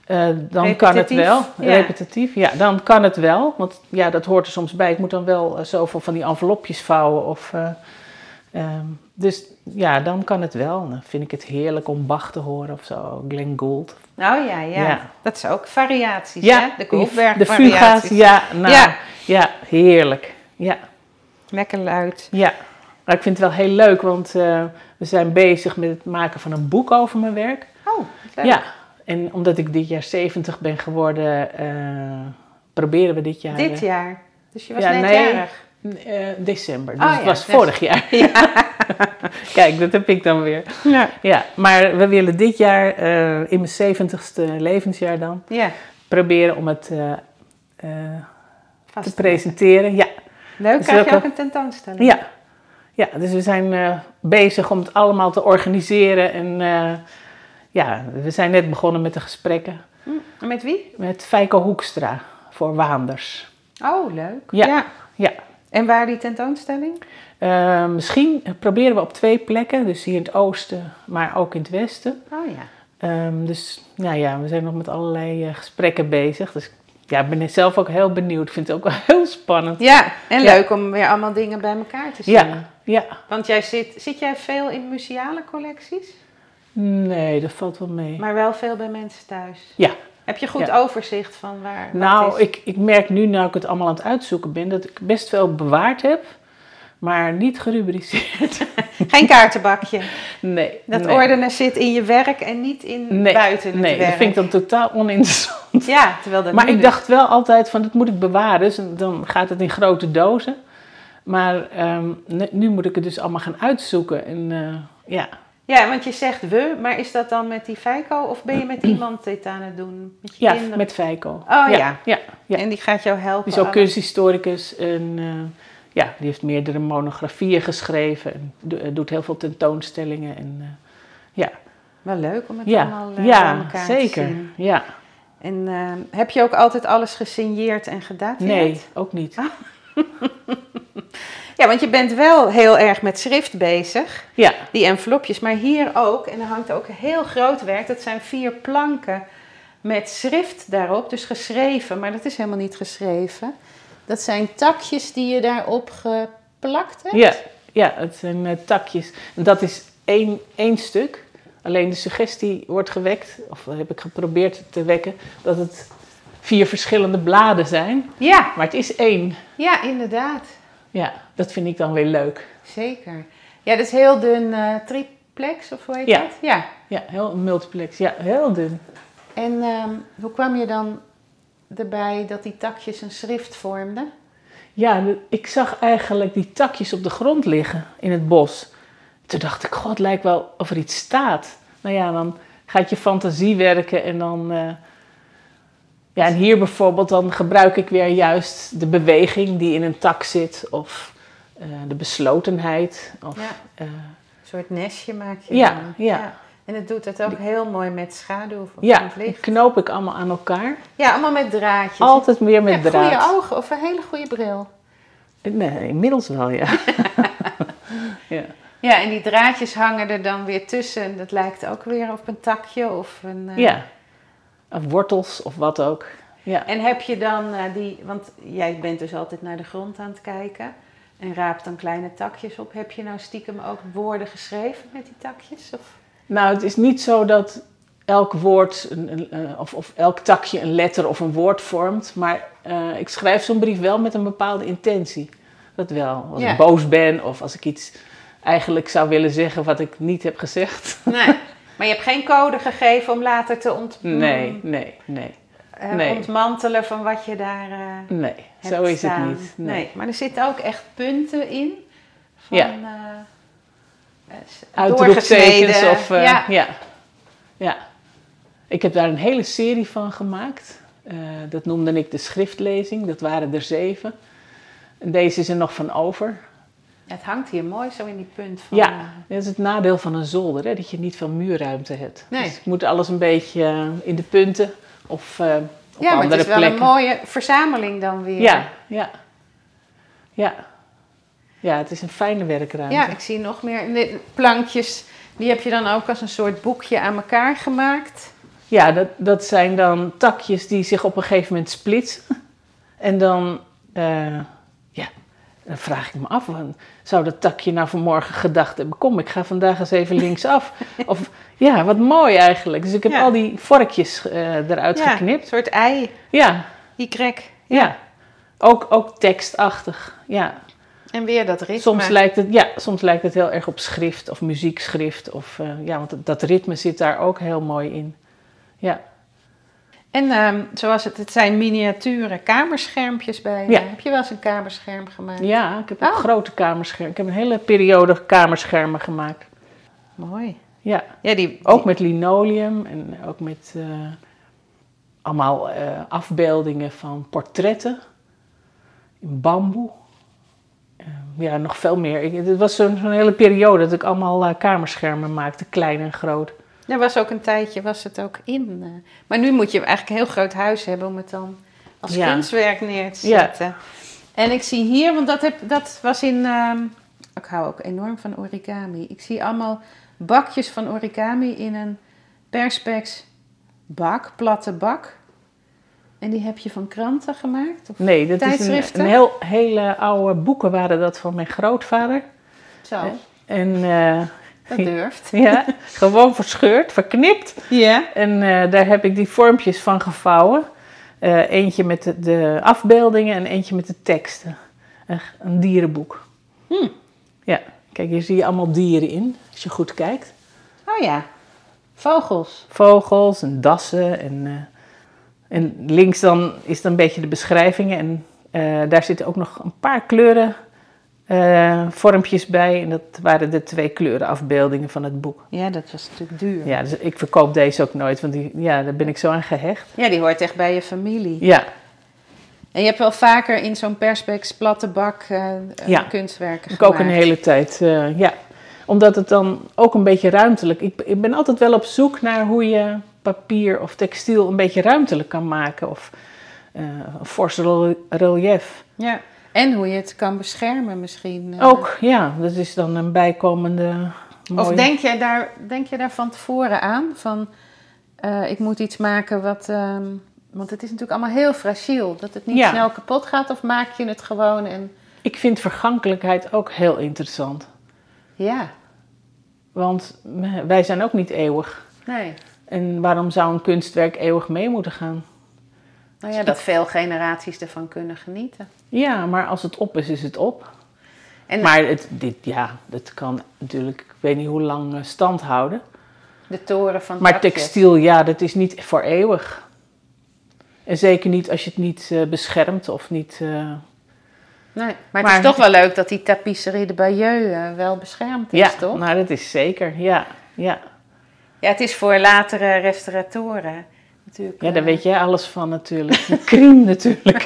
[SPEAKER 1] eh, dan kan het
[SPEAKER 2] Repetitief,
[SPEAKER 1] wel.
[SPEAKER 2] ja.
[SPEAKER 1] Repetitief, ja, dan kan het wel. Want ja, dat hoort er soms bij. Ik moet dan wel eh, zoveel van die envelopjes vouwen. Of, eh, ehm, dus ja, dan kan het wel. Dan vind ik het heerlijk om Bach te horen of zo, Glenn Gould.
[SPEAKER 2] Nou ja, ja.
[SPEAKER 1] Ja.
[SPEAKER 2] Dat is ook variaties,
[SPEAKER 1] Ja,
[SPEAKER 2] hè? De
[SPEAKER 1] die-
[SPEAKER 2] Goldberg
[SPEAKER 1] De fuga's, ja, nou,
[SPEAKER 2] Ja.
[SPEAKER 1] ja. heerlijk. Ja,
[SPEAKER 2] Lekker luid.
[SPEAKER 1] ja. Maar ik vind het wel heel leuk, want eh, we zijn bezig met het maken van een boek over mijn werk.
[SPEAKER 2] Oh, leuk.
[SPEAKER 1] Ja, en omdat ik dit jaar 70 ben geworden, eh, proberen we dit jaar.
[SPEAKER 2] Dit
[SPEAKER 1] eh,
[SPEAKER 2] jaar. Dus je was
[SPEAKER 1] Ja,
[SPEAKER 2] net
[SPEAKER 1] nee.
[SPEAKER 2] jarig.
[SPEAKER 1] eh, december. Dus
[SPEAKER 2] Ah,
[SPEAKER 1] het
[SPEAKER 2] ja,
[SPEAKER 1] was
[SPEAKER 2] net.
[SPEAKER 1] vorig
[SPEAKER 2] (laughs)
[SPEAKER 1] jaar. (laughs) Kijk, dat heb ik dan weer.
[SPEAKER 2] Ja.
[SPEAKER 1] (laughs) Ja, maar we willen dit jaar, eh, in mijn zeventigste levensjaar dan,
[SPEAKER 2] ja.
[SPEAKER 1] proberen om het eh, eh,
[SPEAKER 2] Vast.
[SPEAKER 1] te presenteren. Ja,
[SPEAKER 2] Leuk,
[SPEAKER 1] Dus
[SPEAKER 2] krijg je
[SPEAKER 1] welke-
[SPEAKER 2] ook een tentoonstelling?
[SPEAKER 1] ja. ja, dus we zijn eh, bezig om het allemaal te organiseren. En eh, ja, we zijn net begonnen met de gesprekken
[SPEAKER 2] Hm, en Met wie?
[SPEAKER 1] met Feiko Hoekstra voor Waanders.
[SPEAKER 2] Oh, leuk.
[SPEAKER 1] Ja. Ja,
[SPEAKER 2] En waar die tentoonstelling?
[SPEAKER 1] Eh, misschien proberen we op twee plekken, dus hier in het oosten, maar ook in het westen.
[SPEAKER 2] Oh ja.
[SPEAKER 1] Ehm, dus nou ja, we zijn nog met allerlei eh, gesprekken bezig. Dus ja, ik ben zelf ook heel benieuwd. Ik vind het ook wel heel spannend.
[SPEAKER 2] Ja, en
[SPEAKER 1] Ja.
[SPEAKER 2] leuk om weer allemaal dingen bij elkaar te zien.
[SPEAKER 1] Ja, ja.
[SPEAKER 2] Want jij zit, zit jij veel in museale collecties,
[SPEAKER 1] Nee, dat valt wel mee.
[SPEAKER 2] maar wel veel bij mensen thuis.
[SPEAKER 1] Ja.
[SPEAKER 2] Heb je goed
[SPEAKER 1] Ja.
[SPEAKER 2] overzicht van waar? wat
[SPEAKER 1] Nou,
[SPEAKER 2] is?
[SPEAKER 1] ik, ik merk nu, nou ik het allemaal aan het uitzoeken ben, dat ik best veel bewaard heb, maar niet
[SPEAKER 2] (laughs)
[SPEAKER 1] gerubriceerd.
[SPEAKER 2] Geen kaartenbakje.
[SPEAKER 1] (laughs) Nee.
[SPEAKER 2] Dat
[SPEAKER 1] nee.
[SPEAKER 2] ordenen zit in je werk en niet in
[SPEAKER 1] Nee,
[SPEAKER 2] buiten het
[SPEAKER 1] Nee,
[SPEAKER 2] werk.
[SPEAKER 1] dat vind ik dan totaal oninteressant.
[SPEAKER 2] Ja, terwijl dat
[SPEAKER 1] Maar
[SPEAKER 2] nu
[SPEAKER 1] ik
[SPEAKER 2] dus-
[SPEAKER 1] dacht wel altijd van, dat moet ik bewaren, dus dan gaat het in grote dozen. Maar ehm, ne- nu moet ik het dus allemaal gaan uitzoeken. En eh, ja,
[SPEAKER 2] Ja, want je zegt we, maar is dat dan met die Feiko of
[SPEAKER 1] (clears throat)
[SPEAKER 2] ben je met iemand dit aan het doen? Met je
[SPEAKER 1] ja
[SPEAKER 2] kinderen?
[SPEAKER 1] met Feiko. Oh
[SPEAKER 2] ja. Oh,
[SPEAKER 1] ja. ja.
[SPEAKER 2] En die gaat jou helpen.
[SPEAKER 1] Die is ook
[SPEAKER 2] alle-
[SPEAKER 1] kunsthistoricus en eh, ja, die heeft meerdere monografieën geschreven en do- eh, doet heel veel tentoonstellingen. En, eh, ja,
[SPEAKER 2] Wel leuk om het
[SPEAKER 1] ja,
[SPEAKER 2] allemaal eh, bij
[SPEAKER 1] ja
[SPEAKER 2] elkaar
[SPEAKER 1] zeker.
[SPEAKER 2] te zien.
[SPEAKER 1] Ja.
[SPEAKER 2] En eh, heb je ook altijd alles gesigneerd en gedateerd?
[SPEAKER 1] Nee, ook
[SPEAKER 2] Ah,
[SPEAKER 1] niet.
[SPEAKER 2] Ja, want je bent wel heel erg met schrift bezig,
[SPEAKER 1] Ja,
[SPEAKER 2] die envelopjes, maar hier ook, en er hangt ook een heel groot werk, dat zijn vier planken met schrift daarop, dus geschreven, maar dat is helemaal niet geschreven. Dat zijn takjes die je daarop geplakt hebt.
[SPEAKER 1] ja, ja het zijn eh, takjes. En dat is één, één stuk. Alleen de suggestie wordt gewekt, of heb ik geprobeerd te wekken, dat het vier verschillende bladen zijn.
[SPEAKER 2] Ja,
[SPEAKER 1] Maar het is één.
[SPEAKER 2] ja, inderdaad.
[SPEAKER 1] Ja, dat vind ik dan weer leuk.
[SPEAKER 2] Zeker. Ja, dat is heel dun eh, triplex of hoe heet
[SPEAKER 1] Ja.
[SPEAKER 2] dat? Ja.
[SPEAKER 1] Ja, heel multiplex. Ja, heel dun.
[SPEAKER 2] En ehm, hoe kwam je dan erbij dat die takjes een schrift vormden?
[SPEAKER 1] Ja, de- ik zag eigenlijk die takjes op de grond liggen in het bos. Toen dacht ik, god, het lijkt wel of er iets staat. Nou ja, dan gaat je fantasie werken en dan... eh, Ja, en hier bijvoorbeeld, dan gebruik ik weer juist de beweging die in een tak zit. Of eh, de beslotenheid. Of,
[SPEAKER 2] Ja.
[SPEAKER 1] eh,
[SPEAKER 2] Een soort nestje maak je
[SPEAKER 1] Ja,
[SPEAKER 2] dan.
[SPEAKER 1] ja.
[SPEAKER 2] En het doet het ook heel mooi met schaduw van
[SPEAKER 1] ja,
[SPEAKER 2] het
[SPEAKER 1] die
[SPEAKER 2] licht.
[SPEAKER 1] knoop ik allemaal aan elkaar.
[SPEAKER 2] Ja, allemaal met draadjes.
[SPEAKER 1] Altijd weer met
[SPEAKER 2] ja,
[SPEAKER 1] draad.
[SPEAKER 2] goede ogen of een hele goede bril.
[SPEAKER 1] Nee, inmiddels wel,
[SPEAKER 2] (laughs)
[SPEAKER 1] ja. (laughs) ja.
[SPEAKER 2] Ja, en die draadjes hangen er dan weer tussen. En dat lijkt ook weer op een takje of een... eh,
[SPEAKER 1] ja. Of wortels of wat ook. Ja.
[SPEAKER 2] En heb je dan eh, die, want jij bent dus altijd naar de grond aan het kijken en raapt dan kleine takjes op. Heb je nou stiekem ook woorden geschreven met die takjes? Of?
[SPEAKER 1] Nou, het is niet zo dat elk woord een, een, eh, of, of elk takje een letter of een woord vormt. Maar eh, ik schrijf zo'n brief wel met een bepaalde intentie. Dat wel. Als
[SPEAKER 2] Ja.
[SPEAKER 1] ik boos ben of als ik iets eigenlijk zou willen zeggen wat ik niet heb gezegd. (laughs)
[SPEAKER 2] Nee. (laughs) Maar je hebt geen code gegeven om later te ont
[SPEAKER 1] Nee,
[SPEAKER 2] mm,
[SPEAKER 1] nee, nee,
[SPEAKER 2] eh,
[SPEAKER 1] nee.
[SPEAKER 2] ontmantelen van wat je daar eh
[SPEAKER 1] nee.
[SPEAKER 2] hebt
[SPEAKER 1] Zo is
[SPEAKER 2] staan.
[SPEAKER 1] het niet. Nee.
[SPEAKER 2] Maar er zitten ook echt punten in van
[SPEAKER 1] Ja.
[SPEAKER 2] eh, eh, s-
[SPEAKER 1] Uitroeptekens
[SPEAKER 2] doorgesneden.
[SPEAKER 1] of... eh,
[SPEAKER 2] ja.
[SPEAKER 1] ja. Ja. Ik heb daar een hele serie van gemaakt. Eh, dat noemde ik de schriftlezing. Dat waren er zeven. En deze is er nog van over.
[SPEAKER 2] Het hangt hier mooi zo in die punt van.
[SPEAKER 1] Ja,
[SPEAKER 2] eh,
[SPEAKER 1] dat is het nadeel van een zolder, hè, dat je niet veel muurruimte hebt.
[SPEAKER 2] Nee.
[SPEAKER 1] Dus ik moet alles een beetje eh, in de punten of eh, op
[SPEAKER 2] ja, maar het
[SPEAKER 1] andere
[SPEAKER 2] is wel
[SPEAKER 1] plekken.
[SPEAKER 2] een mooie verzameling dan weer.
[SPEAKER 1] Ja, ja, ja. Ja, het is een fijne werkruimte.
[SPEAKER 2] Ja, ik zie nog meer Nee, plankjes. Die heb je dan ook als een soort boekje aan elkaar gemaakt.
[SPEAKER 1] Ja, dat, dat zijn dan takjes die zich op een gegeven moment splitsen. En dan, eh, ja, dan vraag ik me af, van, zou dat takje nou vanmorgen gedacht hebben, kom, ik ga vandaag eens even linksaf. of, ja, wat mooi eigenlijk. Dus ik heb
[SPEAKER 2] Ja.
[SPEAKER 1] al die vorkjes eh, eruit
[SPEAKER 2] Een
[SPEAKER 1] geknipt.
[SPEAKER 2] soort ei,
[SPEAKER 1] Ja,
[SPEAKER 2] die krek.
[SPEAKER 1] ja. Ook, ook tekstachtig, ja.
[SPEAKER 2] En weer dat ritme.
[SPEAKER 1] Soms lijkt, het, ja, soms lijkt het heel erg op schrift of muziekschrift. Of, eh, ja, want dat- dat ritme zit daar ook heel mooi in. Ja.
[SPEAKER 2] En ehm, zoals het, het zijn miniaturen kamerschermpjes bij.
[SPEAKER 1] Ja.
[SPEAKER 2] Heb je wel eens een kamerscherm gemaakt?
[SPEAKER 1] Ja, ik heb ook
[SPEAKER 2] Oh.
[SPEAKER 1] grote kamerschermen. Ik heb een hele periode kamerschermen gemaakt.
[SPEAKER 2] Mooi.
[SPEAKER 1] Ja,
[SPEAKER 2] Ja, die,
[SPEAKER 1] ook met linoleum en ook met eh, allemaal eh, afbeeldingen van portretten in bamboe. Eh, ja, nog veel meer. Ik, het was zo'n zo'n hele periode dat ik allemaal eh, kamerschermen maakte, klein en groot.
[SPEAKER 2] Er was ook een tijdje, was het ook in. eh, Maar nu moet je eigenlijk een heel groot huis hebben om het dan als
[SPEAKER 1] Ja.
[SPEAKER 2] kunstwerk neer te zetten. En ik zie hier, want dat, heb, dat was in... ehm, ik hou ook enorm van origami. Ik zie allemaal bakjes van origami in een perspex bak, platte bak. En die heb je van kranten gemaakt? Of
[SPEAKER 1] Nee, dat is een,
[SPEAKER 2] Tijdschriften?
[SPEAKER 1] een heel, hele oude boeken waren dat van mijn grootvader.
[SPEAKER 2] zo,
[SPEAKER 1] En eh,
[SPEAKER 2] dat durft.
[SPEAKER 1] (laughs) ja, gewoon verscheurd, verknipt.
[SPEAKER 2] (laughs) Ja.
[SPEAKER 1] En eh, daar heb ik die vormpjes van gevouwen. Eh, eentje met de, de afbeeldingen en eentje met de teksten. Een, een dierenboek.
[SPEAKER 2] Hm.
[SPEAKER 1] Ja, kijk, hier zie je allemaal dieren in, als je goed kijkt.
[SPEAKER 2] Oh ja, vogels.
[SPEAKER 1] Vogels en dassen. En, eh, en links dan is dan een beetje de beschrijvingen. En eh, daar zitten ook nog een paar kleuren eh, vormpjes bij. En dat waren de twee kleuren afbeeldingen van het boek.
[SPEAKER 2] Ja, dat was natuurlijk duur.
[SPEAKER 1] Ja, dus ik verkoop deze ook nooit, want die, ja, daar ben ik zo aan gehecht.
[SPEAKER 2] Ja, die hoort echt bij je familie.
[SPEAKER 1] Ja,
[SPEAKER 2] En je hebt wel vaker in zo'n perspex platte bak eh, eh,
[SPEAKER 1] Ja.
[SPEAKER 2] kunstwerken
[SPEAKER 1] Ik
[SPEAKER 2] gemaakt.
[SPEAKER 1] ook een hele tijd, eh, ja. Omdat het dan ook een beetje ruimtelijk... Ik, ik ben altijd wel op zoek naar hoe je papier of textiel een beetje ruimtelijk kan maken. Of eh, een fors rel- relief.
[SPEAKER 2] Ja. En hoe je het kan beschermen misschien. eh.
[SPEAKER 1] Ook, ja. Dat is dan een bijkomende mooie...
[SPEAKER 2] Of denk jij, daar, denk jij daar van tevoren aan? Van, eh, ik moet iets maken wat... ehm, want het is natuurlijk allemaal heel fragiel. Dat het niet
[SPEAKER 1] Ja.
[SPEAKER 2] snel kapot gaat of maak je het gewoon en...
[SPEAKER 1] Ik vind vergankelijkheid ook heel interessant.
[SPEAKER 2] Ja,
[SPEAKER 1] Want eh, wij zijn ook niet eeuwig.
[SPEAKER 2] nee.
[SPEAKER 1] En waarom zou een kunstwerk eeuwig mee moeten gaan?
[SPEAKER 2] Nou ja, dat veel generaties ervan kunnen genieten.
[SPEAKER 1] Ja, maar als het op is, is het op.
[SPEAKER 2] En-
[SPEAKER 1] maar het, dit, ja, dat kan natuurlijk, ik weet niet hoe lang eh, stand houden.
[SPEAKER 2] De toren van
[SPEAKER 1] Maar
[SPEAKER 2] Takjes.
[SPEAKER 1] textiel, ja, dat is niet voor eeuwig. En zeker niet als je het niet eh, beschermt of niet. eh,
[SPEAKER 2] Nee, maar het
[SPEAKER 1] Maar-
[SPEAKER 2] is toch wel leuk dat die tapisserie de Bayeux eh, wel beschermd is,
[SPEAKER 1] ja,
[SPEAKER 2] toch?
[SPEAKER 1] nou, dat is zeker, ja. Ja,
[SPEAKER 2] Ja, het is voor latere restauratoren natuurlijk.
[SPEAKER 1] ja daar
[SPEAKER 2] eh,
[SPEAKER 1] weet jij alles van natuurlijk. (laughs) De Crime natuurlijk.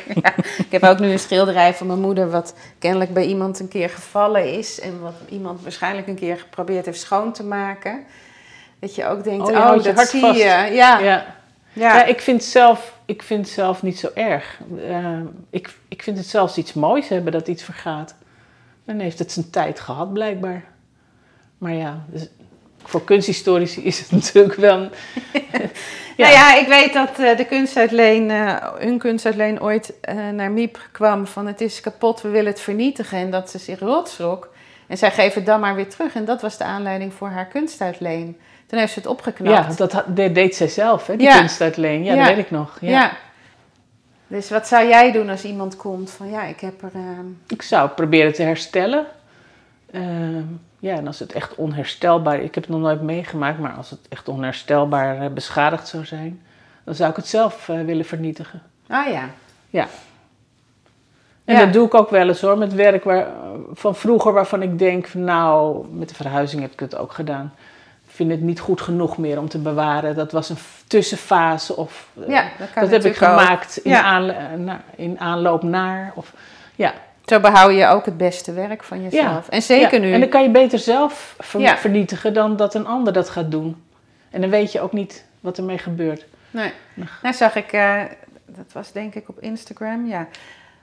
[SPEAKER 2] Ik heb ook nu een schilderij van mijn moeder, wat kennelijk bij iemand een keer gevallen is. En wat iemand waarschijnlijk een keer geprobeerd heeft schoon te maken. Dat je ook denkt,
[SPEAKER 1] Oh,
[SPEAKER 2] oh,
[SPEAKER 1] je houdt je
[SPEAKER 2] dat
[SPEAKER 1] hart
[SPEAKER 2] zie
[SPEAKER 1] vast.
[SPEAKER 2] je. Ja, ja.
[SPEAKER 1] Ja. Ja, ik vind zelf, ik vind zelf niet zo erg. Eh, ik, ik vind het zelfs iets moois hebben dat iets vergaat. Dan heeft het zijn tijd gehad, blijkbaar. Maar ja, dus voor kunsthistorici is het (laughs) natuurlijk wel. een- ja.
[SPEAKER 2] Nou ja, ik weet dat eh, de kunstuitleen, eh, hun kunstuitleen ooit eh, naar Miep kwam van het is kapot, we willen het vernietigen. En dat ze zich rotschrok. En zij geven het dan maar weer terug. En dat was de aanleiding voor haar kunstuitleen. Toen heeft ze het opgeknapt.
[SPEAKER 1] Ja, dat had- de- deed zij zelf, hè, die
[SPEAKER 2] Ja.
[SPEAKER 1] kunstuitleen. Ja,
[SPEAKER 2] Ja.
[SPEAKER 1] dat weet ik nog. Ja.
[SPEAKER 2] Ja. Dus wat zou jij doen als iemand komt van ja, ik heb er. ehm,
[SPEAKER 1] Ik zou het proberen te herstellen. Ehm, ja, en als het echt onherstelbaar... Ik heb het nog nooit meegemaakt, maar als het echt onherstelbaar eh, beschadigd zou zijn... dan zou ik het zelf eh, willen vernietigen.
[SPEAKER 2] Ah ja.
[SPEAKER 1] En
[SPEAKER 2] Ja.
[SPEAKER 1] dat doe ik ook wel eens hoor, met werk waar, van vroeger waarvan ik denk, van, nou, met de verhuizing heb ik het ook gedaan. Ik vind het niet goed genoeg meer om te bewaren. Dat was een f- tussenfase of eh,
[SPEAKER 2] Ja, dat kan
[SPEAKER 1] dat heb ik
[SPEAKER 2] natuurlijk ook.
[SPEAKER 1] gemaakt in,
[SPEAKER 2] Ja.
[SPEAKER 1] aanle- eh, na- in aanloop naar. Of, ja,
[SPEAKER 2] Zo behoud je ook het beste werk van jezelf. En zeker
[SPEAKER 1] Ja,
[SPEAKER 2] nu.
[SPEAKER 1] En dan kan je beter zelf ver-
[SPEAKER 2] Ja.
[SPEAKER 1] vernietigen dan dat een ander dat gaat doen. En dan weet je ook niet wat ermee gebeurt.
[SPEAKER 2] Nee. Nou zag ik, eh, dat was denk ik op Instagram, ja.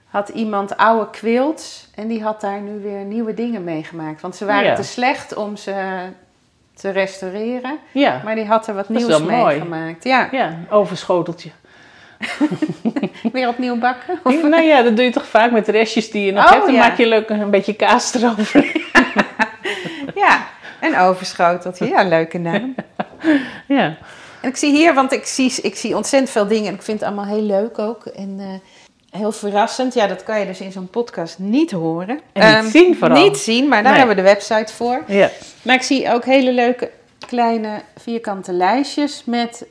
[SPEAKER 2] Had iemand oude quilts en die had daar nu weer nieuwe dingen meegemaakt. Want ze waren
[SPEAKER 1] Ja.
[SPEAKER 2] te slecht om ze te restaureren.
[SPEAKER 1] Ja,
[SPEAKER 2] Maar die had er wat
[SPEAKER 1] Dat is
[SPEAKER 2] nieuws
[SPEAKER 1] wel mooi.
[SPEAKER 2] meegemaakt. Ja,
[SPEAKER 1] ja
[SPEAKER 2] (laughs)
[SPEAKER 1] overschoteltje.
[SPEAKER 2] weer opnieuw bakken.
[SPEAKER 1] Ja, nou ja, dat doe je toch vaak met restjes die je nog
[SPEAKER 2] Oh,
[SPEAKER 1] hebt. Dan
[SPEAKER 2] ja.
[SPEAKER 1] maak je leuk een beetje kaas erover.
[SPEAKER 2] (laughs) Ja, en overschoteltje. Ja, leuke naam.
[SPEAKER 1] ja.
[SPEAKER 2] En ik zie hier, want ik zie, ik zie ontzettend veel dingen en ik vind het allemaal heel leuk ook. En eh, heel verrassend. Ja, dat kan je dus in zo'n podcast niet horen.
[SPEAKER 1] En niet
[SPEAKER 2] Ehm,
[SPEAKER 1] zien vooral.
[SPEAKER 2] Niet zien, maar daar
[SPEAKER 1] Nee.
[SPEAKER 2] hebben we de website voor.
[SPEAKER 1] ja.
[SPEAKER 2] Maar ik zie ook hele leuke kleine vierkante lijstjes met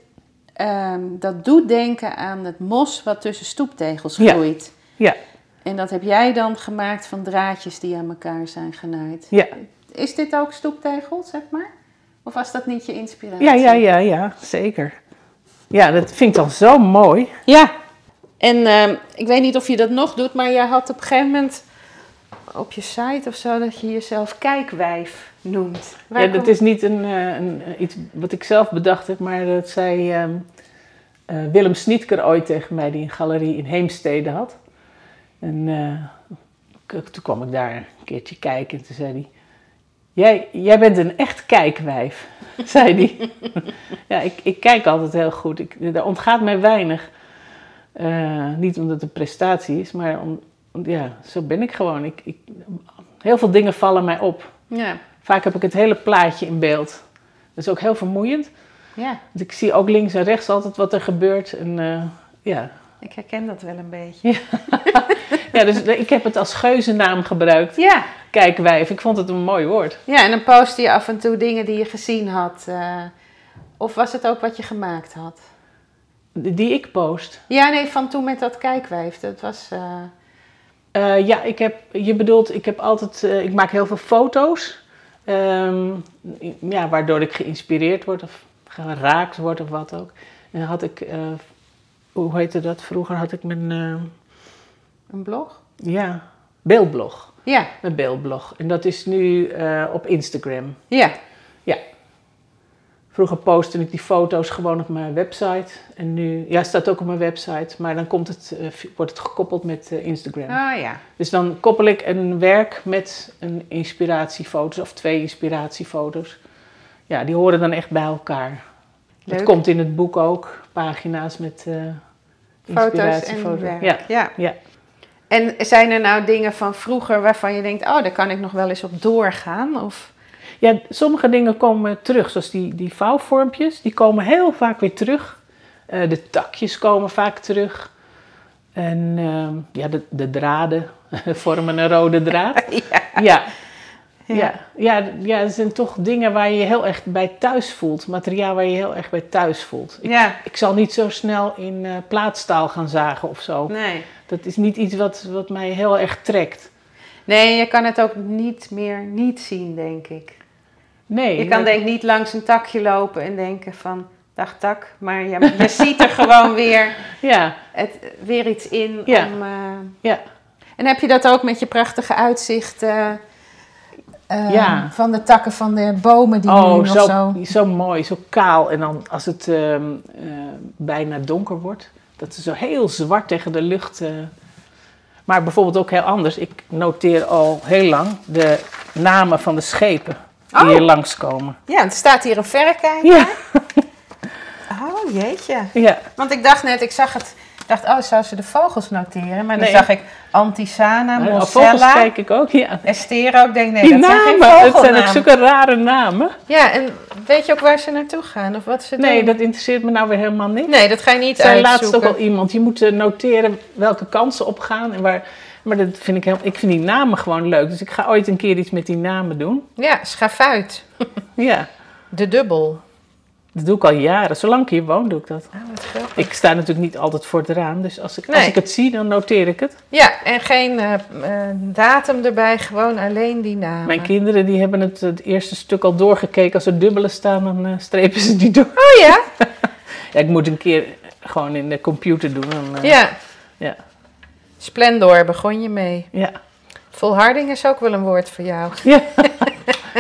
[SPEAKER 2] ehm, dat doet denken aan het mos wat tussen stoeptegels
[SPEAKER 1] Ja.
[SPEAKER 2] groeit.
[SPEAKER 1] Ja.
[SPEAKER 2] En dat heb jij dan gemaakt van draadjes die aan elkaar zijn genaaid.
[SPEAKER 1] Ja.
[SPEAKER 2] Is dit ook stoeptegel, zeg maar? Of was dat niet je inspiratie?
[SPEAKER 1] Ja, ja, ja, ja, zeker. Ja, dat vind ik dan zo mooi.
[SPEAKER 2] Ja, en ehm, ik weet niet of je dat nog doet, maar jij had op een gegeven moment op je site of zo dat je jezelf kijkwijf noemt. Waar
[SPEAKER 1] Ja, dat
[SPEAKER 2] komt-
[SPEAKER 1] is niet een, eh, een, eh, iets wat ik zelf bedacht heb, maar dat zei ehm, eh, Willem Snietker ooit tegen mij, die een galerie in Heemstede had. En eh, k- toen kwam ik daar een keertje kijken en toen zei hij, jij, jij bent een echt kijkwijf, (laughs) zei hij. (laughs) ja, ik, ik kijk altijd heel goed, ik, daar ontgaat mij weinig. Eh, niet omdat het een prestatie is, maar om, ja, zo ben ik gewoon. Ik, ik, heel veel dingen vallen mij op.
[SPEAKER 2] Ja,
[SPEAKER 1] Vaak heb ik het hele plaatje in beeld. Dat is ook heel vermoeiend.
[SPEAKER 2] ja,
[SPEAKER 1] Want ik zie ook links en rechts altijd wat er gebeurt. En, eh, ja.
[SPEAKER 2] ik herken dat wel een beetje.
[SPEAKER 1] ja, dus ik heb het als geuzennaam gebruikt.
[SPEAKER 2] Ja,
[SPEAKER 1] Kijkwijf, ik vond het een mooi woord.
[SPEAKER 2] ja en dan postte je af en toe dingen die je gezien had. eh, of was het ook wat je gemaakt had?
[SPEAKER 1] Die ik post.
[SPEAKER 2] Ja, nee, van toen met dat kijkwijf. Dat was... eh,
[SPEAKER 1] Eh, ja, ik heb, je bedoelt, ik heb altijd, eh, ik maak heel veel foto's. Ehm, ja, waardoor ik geïnspireerd word of geraakt word of wat ook. En dan had ik, eh, hoe heette dat vroeger, had ik mijn, eh,
[SPEAKER 2] een blog?
[SPEAKER 1] ja, beeldblog.
[SPEAKER 2] Ja,
[SPEAKER 1] Mijn beeldblog. En dat is nu eh, op Instagram.
[SPEAKER 2] ja.
[SPEAKER 1] Vroeger postte ik die foto's gewoon op mijn website. En nu, ja, staat ook op mijn website. Maar dan komt het, eh, wordt het gekoppeld met eh, Instagram.
[SPEAKER 2] Ah ja.
[SPEAKER 1] Dus dan koppel ik een werk met een inspiratiefoto's of twee inspiratiefoto's. Ja, die horen dan echt bij elkaar.
[SPEAKER 2] Leuk.
[SPEAKER 1] Dat komt in het boek ook, pagina's met eh
[SPEAKER 2] Foto's en
[SPEAKER 1] inspiratiefoto's.
[SPEAKER 2] werk.
[SPEAKER 1] Ja.
[SPEAKER 2] ja.
[SPEAKER 1] Ja.
[SPEAKER 2] En zijn er nou dingen van vroeger waarvan je denkt, oh, daar kan ik nog wel eens op doorgaan? Of...
[SPEAKER 1] Ja, sommige dingen komen terug, zoals die, die vouwvormpjes. Die komen heel vaak weer terug. Eh, de takjes komen vaak terug. En ehm, ja, de, de draden (laughs) vormen een rode draad.
[SPEAKER 2] (laughs) Ja.
[SPEAKER 1] Ja. Ja. Ja, d- ja, het zijn toch dingen waar je je heel erg bij thuis voelt. Materiaal waar je heel erg bij thuis voelt. Ik,
[SPEAKER 2] Ja,
[SPEAKER 1] ik zal niet zo snel in eh, plaatstaal gaan zagen of zo.
[SPEAKER 2] nee.
[SPEAKER 1] Dat is niet iets wat, wat mij heel erg trekt.
[SPEAKER 2] Nee, je kan het ook niet meer niet zien, denk ik.
[SPEAKER 1] Nee.
[SPEAKER 2] Je kan
[SPEAKER 1] dat-
[SPEAKER 2] denk ik niet langs een takje lopen en denken van, dag tak, maar je, (laughs) je ziet er gewoon weer,
[SPEAKER 1] Ja,
[SPEAKER 2] het, weer iets in.
[SPEAKER 1] Ja.
[SPEAKER 2] Om, eh,
[SPEAKER 1] ja.
[SPEAKER 2] En heb je dat ook met je prachtige uitzichten eh,
[SPEAKER 1] Ja.
[SPEAKER 2] van de takken van de bomen die nu
[SPEAKER 1] Oh,
[SPEAKER 2] nog
[SPEAKER 1] zo,
[SPEAKER 2] zo...
[SPEAKER 1] zo mooi, zo kaal. En dan als het ehm, eh, bijna donker wordt, dat ze zo heel zwart tegen de lucht. eh. Maar bijvoorbeeld ook heel anders. Ik noteer al heel lang de namen van de schepen die
[SPEAKER 2] Oh.
[SPEAKER 1] hier langskomen.
[SPEAKER 2] Ja, er staat hier een verrekijker.
[SPEAKER 1] Ja,
[SPEAKER 2] Oh, jeetje.
[SPEAKER 1] ja.
[SPEAKER 2] Want ik dacht net, ik zag het, ik dacht, oh, zou ze de vogels noteren? Maar dan
[SPEAKER 1] Nee.
[SPEAKER 2] zag ik Antisana,
[SPEAKER 1] Nou, vogels
[SPEAKER 2] Mosella,
[SPEAKER 1] kijk ik ook, ja.
[SPEAKER 2] Estero. Ik denk, nee,
[SPEAKER 1] Die
[SPEAKER 2] dat zijn geen
[SPEAKER 1] namen, het zijn ook
[SPEAKER 2] vogelnamen.
[SPEAKER 1] zulke rare namen.
[SPEAKER 2] Ja, en weet je ook waar ze naartoe gaan of wat ze
[SPEAKER 1] Nee,
[SPEAKER 2] doen?
[SPEAKER 1] dat interesseert me nou weer helemaal niet.
[SPEAKER 2] nee, dat ga je niet
[SPEAKER 1] zei
[SPEAKER 2] uitzoeken.
[SPEAKER 1] laatst ook al iemand, je moet eh, noteren welke kansen opgaan en waar. Maar dat vind ik, heel, ik vind die namen gewoon leuk. Dus ik ga ooit een keer iets met die namen doen.
[SPEAKER 2] Ja, schafuit.
[SPEAKER 1] Ja,
[SPEAKER 2] De dubbel.
[SPEAKER 1] dat doe ik al jaren. Zolang ik hier woon, doe ik dat.
[SPEAKER 2] Ah, wat grappig.
[SPEAKER 1] Ik sta natuurlijk niet altijd voor het raam. Dus als ik,
[SPEAKER 2] Nee.
[SPEAKER 1] als ik het zie, dan noteer ik het.
[SPEAKER 2] Ja, en geen eh, eh, datum erbij, gewoon alleen die namen.
[SPEAKER 1] Mijn kinderen die hebben het, het eerste stuk al doorgekeken. Als er dubbelen staan, dan eh, strepen ze die door.
[SPEAKER 2] Oh ja?
[SPEAKER 1] Ja, ik moet een keer gewoon in de computer doen. Dan, eh,
[SPEAKER 2] Ja.
[SPEAKER 1] Ja.
[SPEAKER 2] Splendor begon je mee.
[SPEAKER 1] ja.
[SPEAKER 2] Volharding is ook wel een woord voor jou.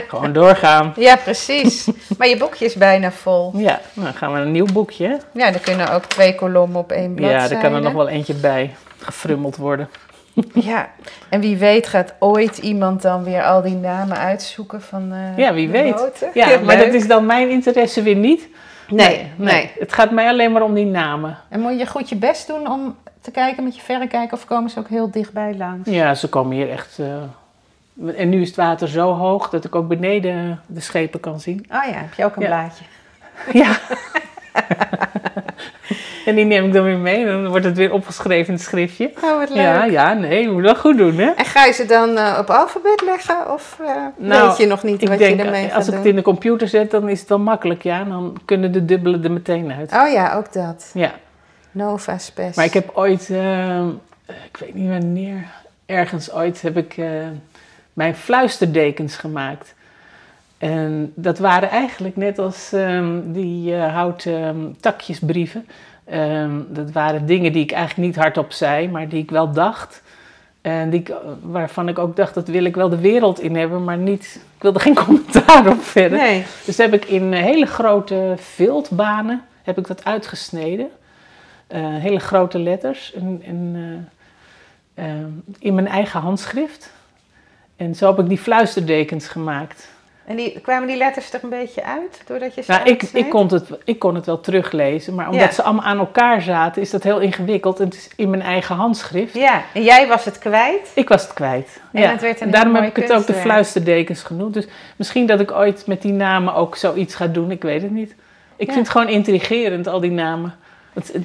[SPEAKER 1] gewoon doorgaan.
[SPEAKER 2] Ja,
[SPEAKER 1] (laughs)
[SPEAKER 2] precies. maar je boekje is bijna vol.
[SPEAKER 1] Ja, nou, dan gaan we naar een nieuw boekje. hè?
[SPEAKER 2] Ja, er kunnen ook twee kolommen op één
[SPEAKER 1] Ja,
[SPEAKER 2] bladzijde.
[SPEAKER 1] er kan er nog wel eentje bij gefrummeld worden.
[SPEAKER 2] Ja, en wie weet gaat ooit iemand dan weer al die namen uitzoeken van eh,
[SPEAKER 1] Ja, wie
[SPEAKER 2] de
[SPEAKER 1] weet.
[SPEAKER 2] boten.
[SPEAKER 1] Ja, maar
[SPEAKER 2] leuk.
[SPEAKER 1] dat is dan mijn interesse weer niet.
[SPEAKER 2] Nee, nee,
[SPEAKER 1] Het gaat mij alleen maar om die namen.
[SPEAKER 2] En moet je goed je best doen om te kijken met je verrekijker of komen ze ook heel dichtbij langs?
[SPEAKER 1] Ja, ze komen hier echt. eh, En nu is het water zo hoog dat ik ook beneden de
[SPEAKER 2] (laughs)
[SPEAKER 1] schepen kan zien.
[SPEAKER 2] Oh ja, heb je ook een
[SPEAKER 1] Ja.
[SPEAKER 2] blaadje.
[SPEAKER 1] Ja. En die neem ik dan weer mee. Dan wordt het weer opgeschreven in het schriftje.
[SPEAKER 2] Oh, wat leuk.
[SPEAKER 1] Ja, ja, nee, je moet wel goed doen, hè?
[SPEAKER 2] En ga je ze dan eh, op alfabet leggen? Of eh,
[SPEAKER 1] Nou,
[SPEAKER 2] weet je nog niet
[SPEAKER 1] ik
[SPEAKER 2] wat
[SPEAKER 1] denk, eh,
[SPEAKER 2] je ermee
[SPEAKER 1] als
[SPEAKER 2] gaat
[SPEAKER 1] ik
[SPEAKER 2] doen?
[SPEAKER 1] het in de computer zet, dan is het wel makkelijk, ja. Dan kunnen de dubbelen er meteen uit.
[SPEAKER 2] Oh ja, ook dat.
[SPEAKER 1] Ja,
[SPEAKER 2] Nova Spes.
[SPEAKER 1] maar ik heb ooit, ehm, ik weet niet wanneer, ergens ooit heb ik eh, mijn fluisterdekens gemaakt. En dat waren eigenlijk net als ehm, die eh, houten ehm, takjesbrieven. Ehm, dat waren dingen die ik eigenlijk niet hardop zei, maar die ik wel dacht. En die ik, eh, waarvan ik ook dacht, dat wil ik wel de wereld in hebben, maar niet, ik wilde geen (laughs) commentaar op verder.
[SPEAKER 2] Nee.
[SPEAKER 1] Dus heb ik in eh, hele grote viltbanen heb ik dat uitgesneden. Eh, hele grote letters en, en, eh, eh, in mijn eigen handschrift. En zo heb ik die fluisterdekens gemaakt.
[SPEAKER 2] En die, kwamen die letters er een beetje uit? Doordat je ze
[SPEAKER 1] Nou, ik,
[SPEAKER 2] uitsneed?
[SPEAKER 1] ik, kon het, ik kon het wel teruglezen, maar omdat
[SPEAKER 2] Ja.
[SPEAKER 1] ze allemaal aan elkaar zaten, is dat heel ingewikkeld. En het is in mijn eigen handschrift.
[SPEAKER 2] Ja, en jij was het kwijt.
[SPEAKER 1] Ik was het kwijt.
[SPEAKER 2] En
[SPEAKER 1] ja.
[SPEAKER 2] het werd een
[SPEAKER 1] En daarom
[SPEAKER 2] heel
[SPEAKER 1] heb ik
[SPEAKER 2] mooi
[SPEAKER 1] het ook de
[SPEAKER 2] kunstwerk.
[SPEAKER 1] fluisterdekens genoemd. Dus misschien dat ik ooit met die namen ook zoiets ga doen. Ik weet het niet. Ik
[SPEAKER 2] Ja.
[SPEAKER 1] vind het gewoon intrigerend, al die namen. Want, eh,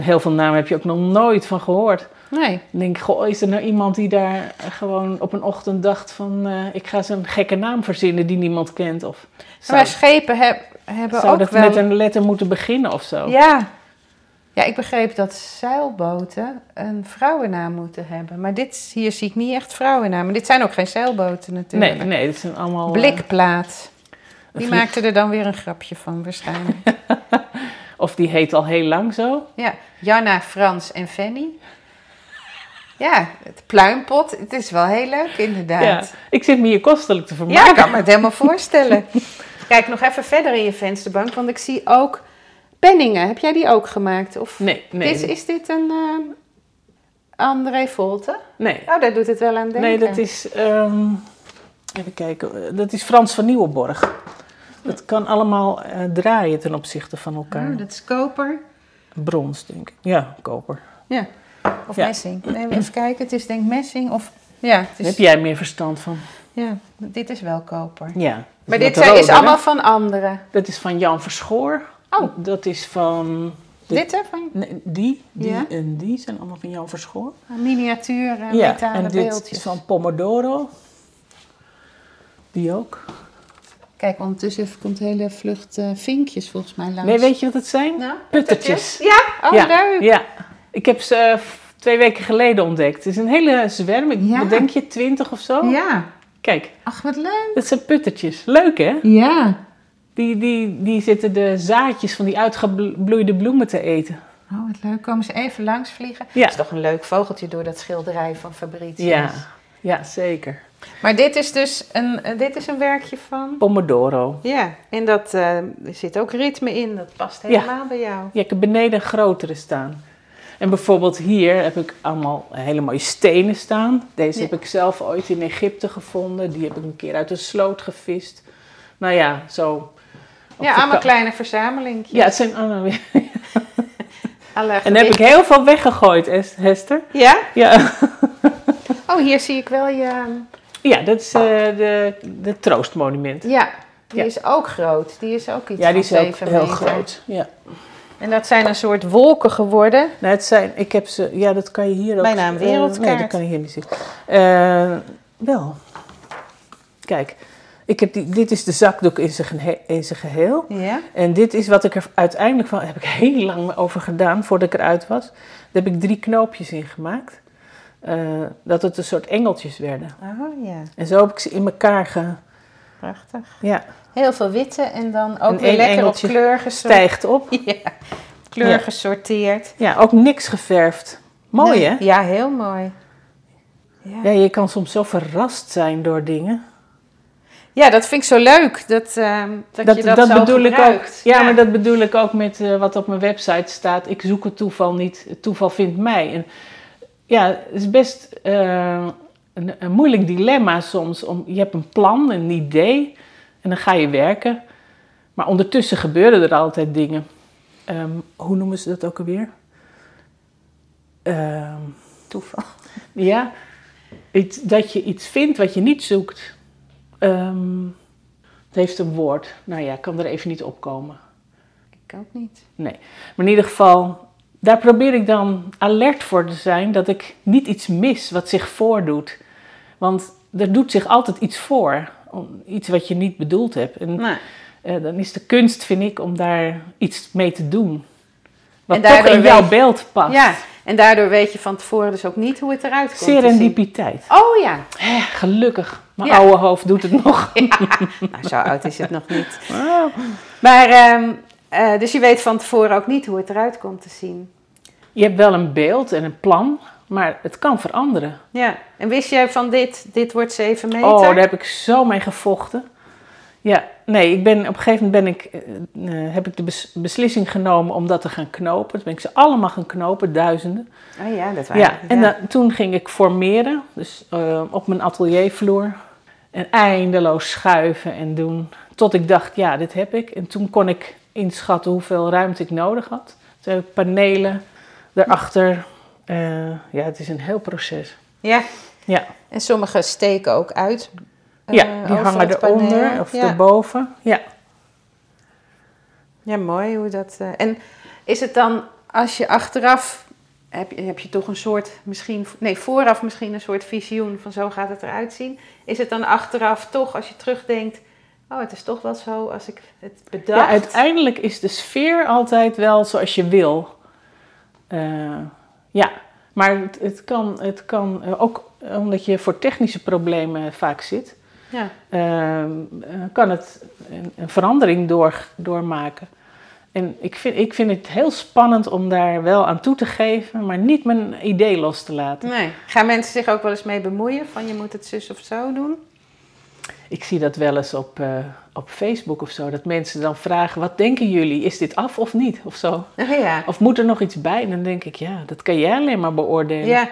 [SPEAKER 1] heel veel namen heb je ook nog nooit van gehoord.
[SPEAKER 3] Nee.
[SPEAKER 1] Dan denk ik, goh, is er nou iemand die daar gewoon op een ochtend dacht van... eh, ik ga zo'n gekke naam verzinnen die niemand kent. Of zou,
[SPEAKER 2] Maar schepen heb- hebben
[SPEAKER 1] zou
[SPEAKER 2] ook
[SPEAKER 1] dat
[SPEAKER 2] wel...
[SPEAKER 1] met een letter moeten beginnen of zo?
[SPEAKER 2] Ja. Ja, ik begreep dat zeilboten een vrouwennaam moeten hebben. Maar dit, hier zie ik niet echt vrouwennamen. Dit zijn ook geen zeilboten natuurlijk.
[SPEAKER 1] nee, nee, dat zijn allemaal... eh,
[SPEAKER 2] Blikplaat. Die
[SPEAKER 1] vlieg-
[SPEAKER 2] maakte er dan weer een grapje van (laughs) waarschijnlijk.
[SPEAKER 1] Of die heet al heel lang zo.
[SPEAKER 2] Ja, Janna, Frans en Fanny. Ja, het pluimpot. Het is wel heel leuk,
[SPEAKER 1] Ja,
[SPEAKER 2] inderdaad.
[SPEAKER 1] ik zit me hier kostelijk te
[SPEAKER 2] Ja,
[SPEAKER 1] vermaken.
[SPEAKER 2] ik kan me het helemaal voorstellen. (laughs) Kijk nog even verder in je vensterbank, want ik zie ook penningen. Heb jij die ook gemaakt? Of
[SPEAKER 1] Nee, nee.
[SPEAKER 2] Dit, is dit een ehm, André Volte?
[SPEAKER 1] Nee,
[SPEAKER 2] Oh, daar doet het wel aan denken.
[SPEAKER 1] nee dat is. ehm, even kijken. eh, Dat is Frans van Nieuwenborg. Dat kan allemaal eh, draaien ten opzichte van elkaar.
[SPEAKER 2] Oh, dat Dus- is koper.
[SPEAKER 1] Brons, denk ik. Ja, koper.
[SPEAKER 2] Ja. Of
[SPEAKER 1] Ja.
[SPEAKER 2] messing. Nee, maar even kijken. Het is denk ik messing of... Ja, het
[SPEAKER 1] Daar
[SPEAKER 2] is,
[SPEAKER 1] heb jij meer verstand van?
[SPEAKER 2] ja, dit is wel koper.
[SPEAKER 1] Ja. Dus dat
[SPEAKER 2] Maar
[SPEAKER 1] met
[SPEAKER 2] dit zijn,
[SPEAKER 1] rode,
[SPEAKER 2] is
[SPEAKER 1] hè?
[SPEAKER 2] allemaal van anderen.
[SPEAKER 1] Dat is van Jan Verschoor.
[SPEAKER 2] Oh.
[SPEAKER 1] Dat is van. Dit-
[SPEAKER 2] Dit hè, van
[SPEAKER 1] nee, die, die
[SPEAKER 2] Ja.
[SPEAKER 1] en die zijn allemaal van Jan Verschoor.
[SPEAKER 2] miniatuur eh,
[SPEAKER 1] en
[SPEAKER 2] metalen
[SPEAKER 1] dit
[SPEAKER 2] beeldjes.
[SPEAKER 1] is van Pomodoro. Die ook.
[SPEAKER 2] Kijk, ondertussen komt een hele vlucht eh, vinkjes volgens mij langs.
[SPEAKER 1] Nee, weet je wat het zijn?
[SPEAKER 2] Nou,
[SPEAKER 1] Puttertjes.
[SPEAKER 2] Ja? Oh,
[SPEAKER 1] ja,
[SPEAKER 2] leuk.
[SPEAKER 1] Ja, ik heb ze eh, f- twee weken geleden ontdekt. Het is een hele zwerm, ik
[SPEAKER 2] Ja.
[SPEAKER 1] wat denk je, twintig of zo.
[SPEAKER 2] Ja.
[SPEAKER 1] Kijk,
[SPEAKER 2] Ach, wat leuk.
[SPEAKER 1] dat zijn puttertjes. Leuk hè?
[SPEAKER 2] Ja.
[SPEAKER 1] Die, die, die zitten de zaadjes van die uitgebloeide bloemen te eten.
[SPEAKER 2] Oh, wat leuk. Komen ze even langs vliegen.
[SPEAKER 1] Ja.
[SPEAKER 2] is toch een leuk vogeltje door dat schilderij van Fabritius.
[SPEAKER 1] Ja, ja zeker.
[SPEAKER 2] Maar dit is dus een, eh, dit is een werkje van...
[SPEAKER 1] Pomodoro.
[SPEAKER 2] Ja, en dat, eh, er zit ook ritme in. Dat past helemaal bij jou.
[SPEAKER 1] Ja, ik heb beneden een grotere staan. En bijvoorbeeld hier heb ik allemaal hele mooie stenen staan. Deze
[SPEAKER 2] Ja.
[SPEAKER 1] heb ik zelf ooit in Egypte gevonden. Die heb ik een keer uit een sloot gevist. Nou ja, zo. op
[SPEAKER 2] Ja, allemaal
[SPEAKER 1] vaka-
[SPEAKER 2] kleine verzamelingjes.
[SPEAKER 1] Ja, het zijn allemaal weer
[SPEAKER 2] Alle
[SPEAKER 1] En daar heb ik heel veel weggegooid, Es- Hester.
[SPEAKER 2] Ja?
[SPEAKER 1] Ja,
[SPEAKER 2] Oh, hier zie ik wel je... ehm,
[SPEAKER 1] ja dat is eh, de, de troostmonument.
[SPEAKER 2] Ja, die
[SPEAKER 1] Ja.
[SPEAKER 2] is ook groot. Die is ook iets
[SPEAKER 1] Ja, die is
[SPEAKER 2] van
[SPEAKER 1] ook
[SPEAKER 2] 7
[SPEAKER 1] heel
[SPEAKER 2] meter.
[SPEAKER 1] groot. Ja.
[SPEAKER 2] En dat zijn een soort wolken geworden.
[SPEAKER 1] Nou, het zijn, ik heb ze, ja, dat kan je hier ook...
[SPEAKER 2] Bijna een
[SPEAKER 1] eh, nee,
[SPEAKER 2] wereldkaart.
[SPEAKER 1] dat kan je hier niet zien. Eh, wel. Kijk, ik heb die, dit is de zakdoek in zijn, gehe- in zijn geheel.
[SPEAKER 2] Ja.
[SPEAKER 1] En dit is wat ik er uiteindelijk van... heb ik (laughs) heel lang over gedaan, voordat ik eruit was. Daar heb ik drie knoopjes in gemaakt. eh, dat het een soort engeltjes werden.
[SPEAKER 2] Oh ja,
[SPEAKER 1] En zo heb ik ze in elkaar ge...
[SPEAKER 2] prachtig.
[SPEAKER 1] Ja,
[SPEAKER 2] Heel veel witte en dan ook
[SPEAKER 1] En
[SPEAKER 2] weer
[SPEAKER 1] één
[SPEAKER 2] lekker
[SPEAKER 1] engeltje
[SPEAKER 2] op kleur gesorteerd.
[SPEAKER 1] stijgt op.
[SPEAKER 2] (laughs) Ja, kleur
[SPEAKER 1] Ja.
[SPEAKER 2] gesorteerd.
[SPEAKER 1] Ja, ook niks geverfd. Mooi
[SPEAKER 2] Nee,
[SPEAKER 1] hè?
[SPEAKER 2] Ja, heel mooi. Ja.
[SPEAKER 1] Ja, je kan soms zo verrast zijn door dingen.
[SPEAKER 2] Ja, dat vind ik zo leuk. Dat, ehm, dat, je dat, zo
[SPEAKER 1] bedoel ik
[SPEAKER 2] gebruikt.
[SPEAKER 1] ook. Ja, maar dat bedoel ik ook met eh, wat op mijn website staat. Ik zoek het toeval niet. Het toeval vindt mij. En ja, het is best eh, een, een moeilijk dilemma soms. Om, je hebt een plan, een idee en dan ga je werken. Maar ondertussen gebeuren er altijd dingen. Ehm, hoe noemen ze dat ook alweer? Ehm,
[SPEAKER 2] toeval.
[SPEAKER 1] Ja, iets, dat je iets vindt wat je niet zoekt. Ehm, het heeft een woord. Nou ja, ik kan er even niet opkomen.
[SPEAKER 2] Ik ik ook niet.
[SPEAKER 1] Maar in ieder geval, daar probeer ik dan alert voor te zijn dat ik niet iets mis wat zich voordoet. Want er doet zich altijd iets voor, om- iets wat je niet bedoeld hebt. En
[SPEAKER 2] Nou,
[SPEAKER 1] eh, dan is de kunst, vind ik, om daar iets mee te doen. Wat
[SPEAKER 2] En
[SPEAKER 1] toch
[SPEAKER 2] daardoor
[SPEAKER 1] in jouw
[SPEAKER 2] weet-
[SPEAKER 1] beeld past.
[SPEAKER 2] ja, en daardoor weet je van tevoren dus ook niet hoe het eruit komt. te zien.
[SPEAKER 1] Serendipiteit.
[SPEAKER 2] Oh ja. (laughs)
[SPEAKER 1] Hè, gelukkig, mijn
[SPEAKER 2] Ja.
[SPEAKER 1] oude hoofd doet het nog.
[SPEAKER 2] Nou, zo oud is het nog niet. Oh. Maar, ehm, eh, dus je weet van tevoren ook niet hoe het eruit komt te zien.
[SPEAKER 1] Je hebt wel een beeld en een plan, maar het kan veranderen.
[SPEAKER 2] Ja. En wist jij van dit, dit wordt 7 meter?
[SPEAKER 1] Oh, daar heb ik zo mee gevochten. Ja, nee, ik ben, op een gegeven moment ben ik, eh, eh, heb ik de bes- beslissing genomen om dat te gaan knopen. Toen ben ik ze allemaal gaan knopen, duizenden.
[SPEAKER 2] Oh ja, dat
[SPEAKER 1] Ja,
[SPEAKER 2] waren
[SPEAKER 1] en dan- toen ging ik formeren, dus eh, op mijn ateliervloer. En eindeloos schuiven en doen, tot ik dacht, ja, dit heb ik. En toen kon ik inschatten hoeveel ruimte ik nodig had. Toen heb ik panelen erachter. Eh, ja, het is een heel proces.
[SPEAKER 2] Ja.
[SPEAKER 1] Ja.
[SPEAKER 2] En sommige steken ook uit. eh,
[SPEAKER 1] Ja, die
[SPEAKER 2] over
[SPEAKER 1] hangen
[SPEAKER 2] het paneel.
[SPEAKER 1] eronder of
[SPEAKER 2] ja.
[SPEAKER 1] erboven. Ja.
[SPEAKER 2] ja, mooi hoe dat. eh, en is het dan als je achteraf. Heb je, heb je toch een soort, misschien, nee, vooraf misschien een soort visioen van zo gaat het eruit zien. Is het dan achteraf toch, als je terugdenkt, oh, het is toch wel zo als ik het bedacht?
[SPEAKER 1] ja, uiteindelijk is de sfeer altijd wel zoals je wil. Eh, ja, maar het, het kan, het kan eh, ook omdat je voor technische problemen vaak zit,
[SPEAKER 2] Ja.
[SPEAKER 1] eh, eh, kan het een, een verandering door, doormaken. En ik vind, ik vind het heel spannend om daar wel aan toe te geven, maar niet mijn idee los te laten.
[SPEAKER 2] Nee. Gaan mensen zich ook wel eens mee bemoeien? Van je moet het zus of zo doen? (laughs)
[SPEAKER 1] Ik zie dat wel eens op, eh, op Facebook of zo. Dat mensen dan vragen: wat denken jullie? Is dit af of niet? Of zo.
[SPEAKER 2] Oh, ja.
[SPEAKER 1] Of moet er nog iets bij? En dan denk ik: ja, dat kan jij alleen maar beoordelen.
[SPEAKER 2] Ja,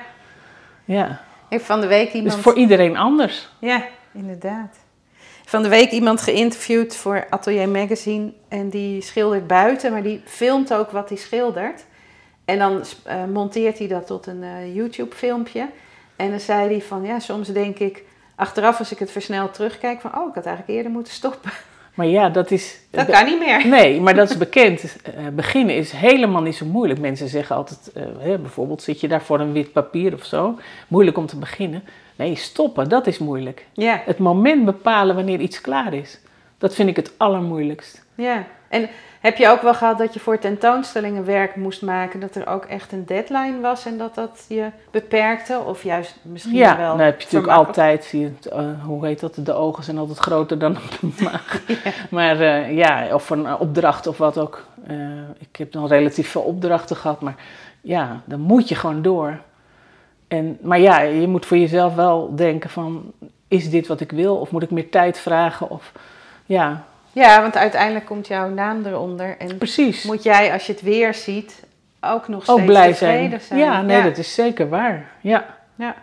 [SPEAKER 1] Ja.
[SPEAKER 2] ik van de week
[SPEAKER 1] Dus
[SPEAKER 2] iemand.
[SPEAKER 1] voor iedereen anders.
[SPEAKER 2] Ja, inderdaad. Van de week iemand geïnterviewd voor Atelier Magazine. En die schildert buiten, maar die filmt ook wat hij schildert. En dan eh, monteert hij dat tot een eh, YouTube-filmpje. En dan zei hij van, ja, soms denk ik achteraf als ik het versneld terugkijk... van, oh, ik had eigenlijk eerder moeten stoppen. (laughs)
[SPEAKER 1] Maar ja, dat is.
[SPEAKER 2] Dat kan (laughs) niet meer.
[SPEAKER 1] Nee, maar dat is bekend. Eh, beginnen is helemaal niet zo moeilijk. Mensen zeggen altijd: eh, hè, bijvoorbeeld, zit je daar voor een wit papier of zo? Moeilijk om te beginnen. Nee, stoppen, dat is moeilijk.
[SPEAKER 2] Ja,
[SPEAKER 1] Het moment bepalen wanneer iets klaar is, dat vind ik het allermoeilijkst.
[SPEAKER 2] ja. En heb je ook wel gehad dat je voor tentoonstellingen werk moest maken... dat er ook echt een deadline was en dat dat je beperkte? Of juist misschien
[SPEAKER 1] Ja,
[SPEAKER 2] wel...
[SPEAKER 1] dan heb je natuurlijk
[SPEAKER 2] vermakkelijk-
[SPEAKER 1] altijd, zie je, het, eh, hoe heet dat, de ogen zijn altijd groter dan (laughs) de maag. Maar eh, ja, of een opdracht of wat ook. Eh, ik heb dan relatief veel opdrachten gehad, maar ja, dan moet je gewoon door. En, maar ja, je moet voor jezelf wel denken van, is dit wat ik wil? Of moet ik meer tijd vragen? Of, ja,
[SPEAKER 2] Ja, want uiteindelijk komt jouw naam eronder. En
[SPEAKER 1] precies.
[SPEAKER 2] moet jij, als je het weer ziet, ook nog steeds
[SPEAKER 1] ook blij
[SPEAKER 2] tevreden
[SPEAKER 1] zijn.
[SPEAKER 2] zijn.
[SPEAKER 1] Ja, nee, dat is zeker waar. Ja.
[SPEAKER 2] ja.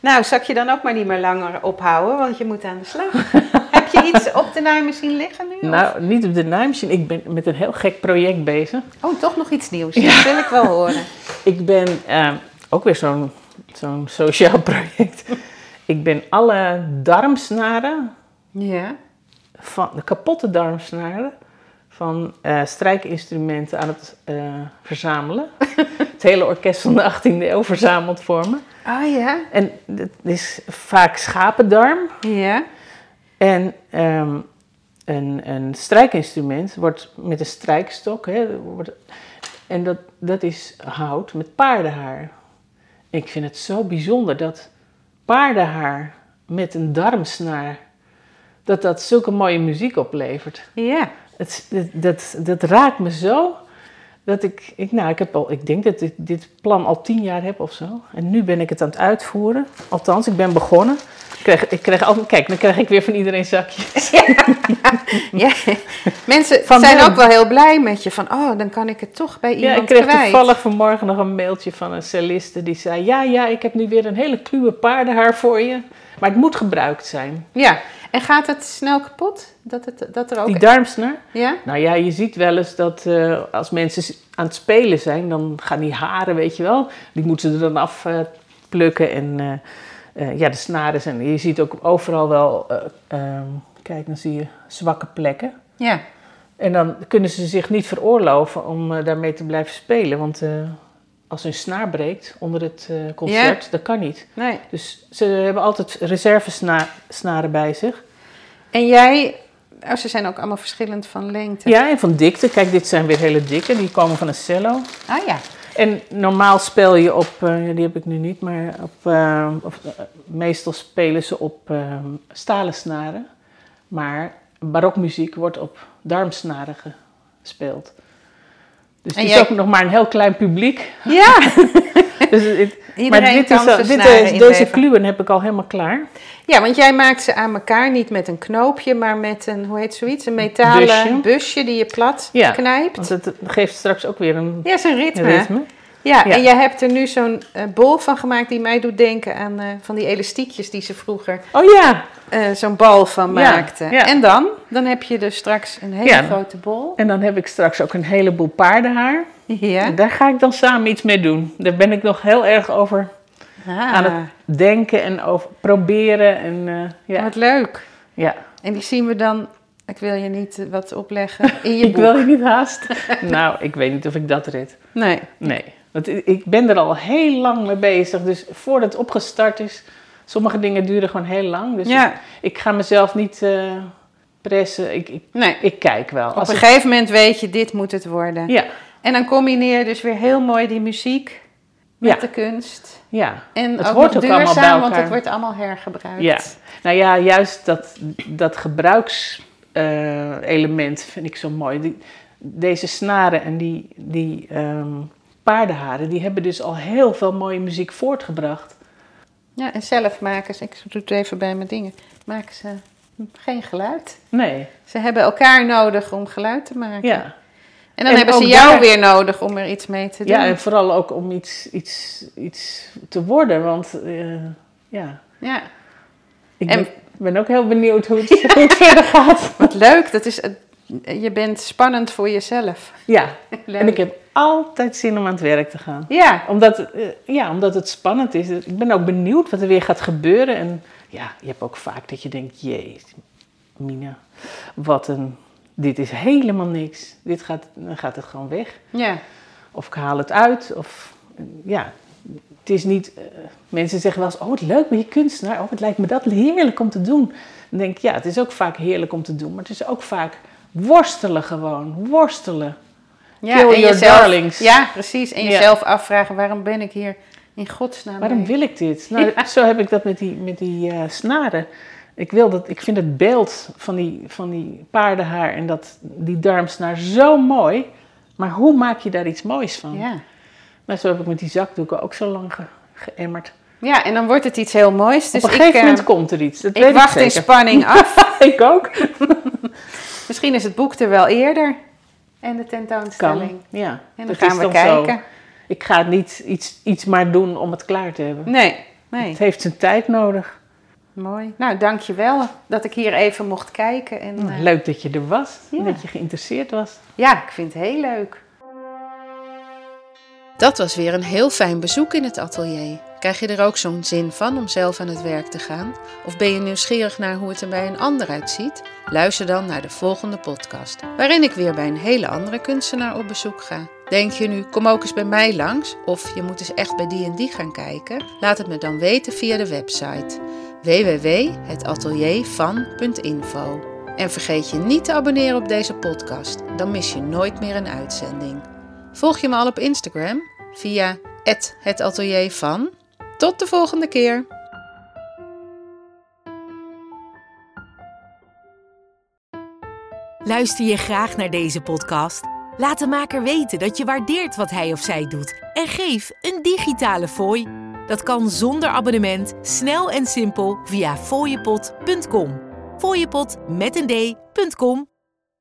[SPEAKER 2] Nou, zal ik je dan ook maar niet meer langer ophouden, want je moet aan de slag.
[SPEAKER 1] (laughs)
[SPEAKER 2] Heb je iets op de naam zien liggen nu? of-
[SPEAKER 1] Nou, niet op de naamsje. Ik ben met een heel gek project bezig.
[SPEAKER 2] Oh, toch nog iets nieuws. Dat wil ik wel horen.
[SPEAKER 1] Ik ben eh, ook weer zo'n zo'n sociaal (laughs) project. ik ben alle darmsnaren,
[SPEAKER 2] Ja.
[SPEAKER 1] van, de kapotte darmsnaren van eh, strijkinstrumenten aan het eh, verzamelen. het hele orkest van de 18e eeuw verzameld voor me.
[SPEAKER 2] Oh ja?
[SPEAKER 1] En het is vaak schapendarm.
[SPEAKER 2] Ja.
[SPEAKER 1] En ehm, een, een strijkinstrument wordt met een strijkstok, hè, wordt, en dat, dat is hout met paardenhaar. Ik vind het zo bijzonder dat paardenhaar met een darmsnaar, dat dat zulke mooie muziek oplevert.
[SPEAKER 2] Ja.
[SPEAKER 1] Het, is- dat, dat, dat raakt me zo, dat ik, ik, nou, ik, heb al, ik denk dat ik dit plan al tien jaar heb of zo. En nu ben ik het aan het uitvoeren. Althans, ik ben begonnen. Ik kreeg, ik kreeg al, kijk, dan krijg ik weer van iedereen zakjes.
[SPEAKER 2] (laughs) ja.
[SPEAKER 1] (laughs)
[SPEAKER 2] Mensen
[SPEAKER 1] Van
[SPEAKER 2] zijn
[SPEAKER 1] hem.
[SPEAKER 2] ook wel heel blij met je. Van, oh, dan kan ik het toch bij iemand
[SPEAKER 1] Ja, ik kreeg
[SPEAKER 2] kwijt.
[SPEAKER 1] toevallig vanmorgen nog een mailtje van een celliste die zei: Ja, ja, ik heb nu weer een hele kluwe paardenhaar voor je. Maar het moet gebruikt zijn.
[SPEAKER 2] Ja. En gaat het snel kapot? Dat, het, dat er ook...
[SPEAKER 1] Die darmsner.
[SPEAKER 2] Ja?
[SPEAKER 1] Nou ja, je ziet wel eens dat eh, als mensen s- aan het spelen zijn, dan gaan die haren, weet je wel, die moeten ze dan afplukken. plukken en eh, eh, ja, de snaren zijn. Je ziet ook overal wel, eh, ehm, kijk, dan zie je zwakke plekken.
[SPEAKER 2] Ja.
[SPEAKER 1] En dan kunnen ze zich niet veroorloven om eh, daarmee te blijven spelen. Want eh, als hun snaar breekt onder het eh, concert, dat kan niet.
[SPEAKER 2] Nee.
[SPEAKER 1] Dus ze hebben altijd reservesnaren bij zich.
[SPEAKER 2] En jij, oh, ze zijn ook allemaal verschillend van lengte.
[SPEAKER 1] Ja, en van dikte. Kijk, dit zijn weer hele dikke. Die komen van een cello.
[SPEAKER 2] Ah ja.
[SPEAKER 1] En normaal speel je op, eh, ja, die heb ik nu niet, maar op, eh, of, eh, meestal spelen ze op eh, stalen snaren. Maar barokmuziek wordt op darmsnaren gespeeld. Dus
[SPEAKER 2] En
[SPEAKER 1] het
[SPEAKER 2] jij-
[SPEAKER 1] is ook nog maar een heel klein
[SPEAKER 2] (laughs)
[SPEAKER 1] publiek.
[SPEAKER 2] (laughs) Ja,
[SPEAKER 1] Dus het,
[SPEAKER 2] iedereen
[SPEAKER 1] maar dit
[SPEAKER 2] kan
[SPEAKER 1] is, al-
[SPEAKER 2] zijn
[SPEAKER 1] dit
[SPEAKER 2] snaren
[SPEAKER 1] is,
[SPEAKER 2] inleven.
[SPEAKER 1] deze kluwen heb ik al helemaal klaar.
[SPEAKER 2] Ja, want jij maakt ze aan elkaar niet met een knoopje, maar met een, hoe heet zoiets, een metalen busje,
[SPEAKER 1] Busje.
[SPEAKER 2] die je plat
[SPEAKER 1] Ja,
[SPEAKER 2] knijpt.
[SPEAKER 1] Want het geeft straks ook weer een
[SPEAKER 2] Ja, is een ritme.
[SPEAKER 1] ritme.
[SPEAKER 2] Ja,
[SPEAKER 1] Ja.
[SPEAKER 2] en jij hebt er nu zo'n eh, bol van gemaakt die mij doet denken aan eh, van die elastiekjes die ze vroeger
[SPEAKER 1] Oh ja,
[SPEAKER 2] eh, zo'n bal van
[SPEAKER 1] Ja,
[SPEAKER 2] maakten.
[SPEAKER 1] ja.
[SPEAKER 2] En dan? Dan heb je dus straks een hele
[SPEAKER 1] Ja.
[SPEAKER 2] grote bol.
[SPEAKER 1] en dan heb ik straks ook een heleboel paardenhaar.
[SPEAKER 2] Ja.
[SPEAKER 1] En daar ga ik dan samen iets mee doen. Daar ben ik nog heel erg over
[SPEAKER 2] Ah,
[SPEAKER 1] aan het denken en over proberen. En, eh, ja.
[SPEAKER 2] Wat leuk.
[SPEAKER 1] Ja.
[SPEAKER 2] En die zien we dan, ik wil je niet eh, wat
[SPEAKER 1] (laughs)
[SPEAKER 2] opleggen, in je
[SPEAKER 1] Ik
[SPEAKER 2] boek.
[SPEAKER 1] wil je niet haast.
[SPEAKER 2] (laughs)
[SPEAKER 1] nou, ik weet niet of ik dat red.
[SPEAKER 2] Nee.
[SPEAKER 1] Nee, want i- ik ben er al heel lang mee bezig. Dus voordat het opgestart is, sommige dingen duren gewoon heel lang. Dus ik,
[SPEAKER 2] Ja,
[SPEAKER 1] ik ga mezelf niet eh, pressen. Ik, ik,
[SPEAKER 2] nee.
[SPEAKER 1] ik kijk wel.
[SPEAKER 2] Op
[SPEAKER 1] Als
[SPEAKER 2] een
[SPEAKER 1] ik-
[SPEAKER 2] gegeven moment weet je, dit moet het worden.
[SPEAKER 1] ja,
[SPEAKER 2] En dan combineer je dus weer heel mooi die muziek met
[SPEAKER 1] Ja.
[SPEAKER 2] de kunst.
[SPEAKER 1] ja.
[SPEAKER 2] En
[SPEAKER 1] Het
[SPEAKER 2] ook
[SPEAKER 1] hoort
[SPEAKER 2] nog
[SPEAKER 1] ook allemaal bij
[SPEAKER 2] duurzaam, want
[SPEAKER 1] elkaar.
[SPEAKER 2] het wordt allemaal hergebruikt.
[SPEAKER 1] Ja. Nou ja, juist dat, dat gebruikselement vind ik zo mooi. Die- deze snaren en die, die ehm, paardenharen, die hebben dus al heel veel mooie muziek voortgebracht.
[SPEAKER 2] Ja, en zelf maken ze, ik doe het even bij mijn dingen, maken ze geen geluid.
[SPEAKER 1] Nee,
[SPEAKER 2] Ze hebben elkaar nodig om geluid te maken.
[SPEAKER 1] ja.
[SPEAKER 2] En dan
[SPEAKER 1] En
[SPEAKER 2] hebben ze
[SPEAKER 1] ook
[SPEAKER 2] jou
[SPEAKER 1] daar-
[SPEAKER 2] weer nodig om er iets mee te doen.
[SPEAKER 1] Ja, en vooral ook om iets, iets, iets te worden, want eh, ja,
[SPEAKER 2] Ja.
[SPEAKER 1] ik
[SPEAKER 2] En-
[SPEAKER 1] ben, ben ook heel benieuwd
[SPEAKER 2] (laughs)
[SPEAKER 1] hoe het, hoe het verder gaat.
[SPEAKER 2] Wat leuk, dat is, het- je bent spannend voor jezelf.
[SPEAKER 1] Ja,
[SPEAKER 2] Leuk.
[SPEAKER 1] en ik heb altijd zin om aan het werk te gaan.
[SPEAKER 2] Ja,
[SPEAKER 1] Omdat, eh, ja, omdat het spannend is. Ik ben ook benieuwd wat er weer gaat gebeuren. En ja, je hebt ook vaak dat je denkt, jee, Mina, wat een... Dit is helemaal niks. Dit gaat, dan gaat het gewoon weg.
[SPEAKER 2] ja.
[SPEAKER 1] Of ik haal het uit. Of eh, ja, het is niet... eh, mensen zeggen wel eens, oh, wat leuk ben je kunstenaar. Oh, het lijkt me dat heerlijk om te doen. Dan denk ik, ja, het is ook vaak heerlijk om te doen. Maar het is ook vaak worstelen gewoon. Worstelen.
[SPEAKER 2] ja.
[SPEAKER 1] Kill your
[SPEAKER 2] jezelf,
[SPEAKER 1] darlings.
[SPEAKER 2] Ja, precies. En
[SPEAKER 1] Ja.
[SPEAKER 2] jezelf afvragen, waarom ben ik hier in godsnaam
[SPEAKER 1] Waarom
[SPEAKER 2] mee?
[SPEAKER 1] wil ik dit? Nou, zo heb ik dat met die, met die eh, snaren. Ik, wil dat, ik vind het beeld van die, van die paardenhaar en dat, die darmsnaar zo mooi. Maar hoe maak je daar iets moois van?
[SPEAKER 2] Ja.
[SPEAKER 1] Nou, zo heb ik met die zakdoeken ook zo lang ge- geëmmerd.
[SPEAKER 2] ja, en dan wordt het iets heel moois. Dus
[SPEAKER 1] Op een
[SPEAKER 2] ik,
[SPEAKER 1] gegeven
[SPEAKER 2] eh,
[SPEAKER 1] moment komt er iets. Dat
[SPEAKER 2] ik
[SPEAKER 1] weet
[SPEAKER 2] wacht
[SPEAKER 1] ik
[SPEAKER 2] in
[SPEAKER 1] zeker.
[SPEAKER 2] spanning af.
[SPEAKER 1] (laughs) ik ook.
[SPEAKER 2] Misschien is het boek er wel eerder. En de tentoonstelling.
[SPEAKER 1] Kan. Ja.
[SPEAKER 2] En dan
[SPEAKER 1] Dat
[SPEAKER 2] gaan
[SPEAKER 1] is
[SPEAKER 2] we
[SPEAKER 1] zo.
[SPEAKER 2] kijken.
[SPEAKER 1] Ik ga het niet iets, iets maar doen om het klaar te hebben.
[SPEAKER 2] Nee, nee.
[SPEAKER 1] Het heeft zijn tijd nodig.
[SPEAKER 2] Mooi. Nou, dankjewel dat ik hier even mocht kijken. En,
[SPEAKER 1] Nou,
[SPEAKER 2] eh,
[SPEAKER 1] Leuk dat je er was.
[SPEAKER 2] Ja.
[SPEAKER 1] en Dat je geïnteresseerd was.
[SPEAKER 2] Ja, ik vind het heel leuk.
[SPEAKER 3] Dat was weer een heel fijn bezoek in het atelier. Krijg je er ook zo'n zin van om zelf aan het werk te gaan? Of ben je nieuwsgierig naar hoe het er bij een ander uitziet? Luister dan naar de volgende podcast, waarin ik weer bij een hele andere kunstenaar op bezoek ga. Denk je nu, kom ook eens bij mij langs? Of je moet eens echt bij die en die gaan kijken? Laat het me dan weten via de website www.hetateliervan.info. En vergeet je niet te abonneren op deze podcast, dan mis je nooit meer een uitzending. Volg je me al op Instagram via het atelier van. Tot de volgende keer!
[SPEAKER 4] Luister je graag naar deze podcast? Laat de maker weten dat je waardeert wat hij of zij doet en geef een digitale fooi. Dat kan zonder abonnement, snel en simpel via fooiepot.com. Fooiepot met een d.com.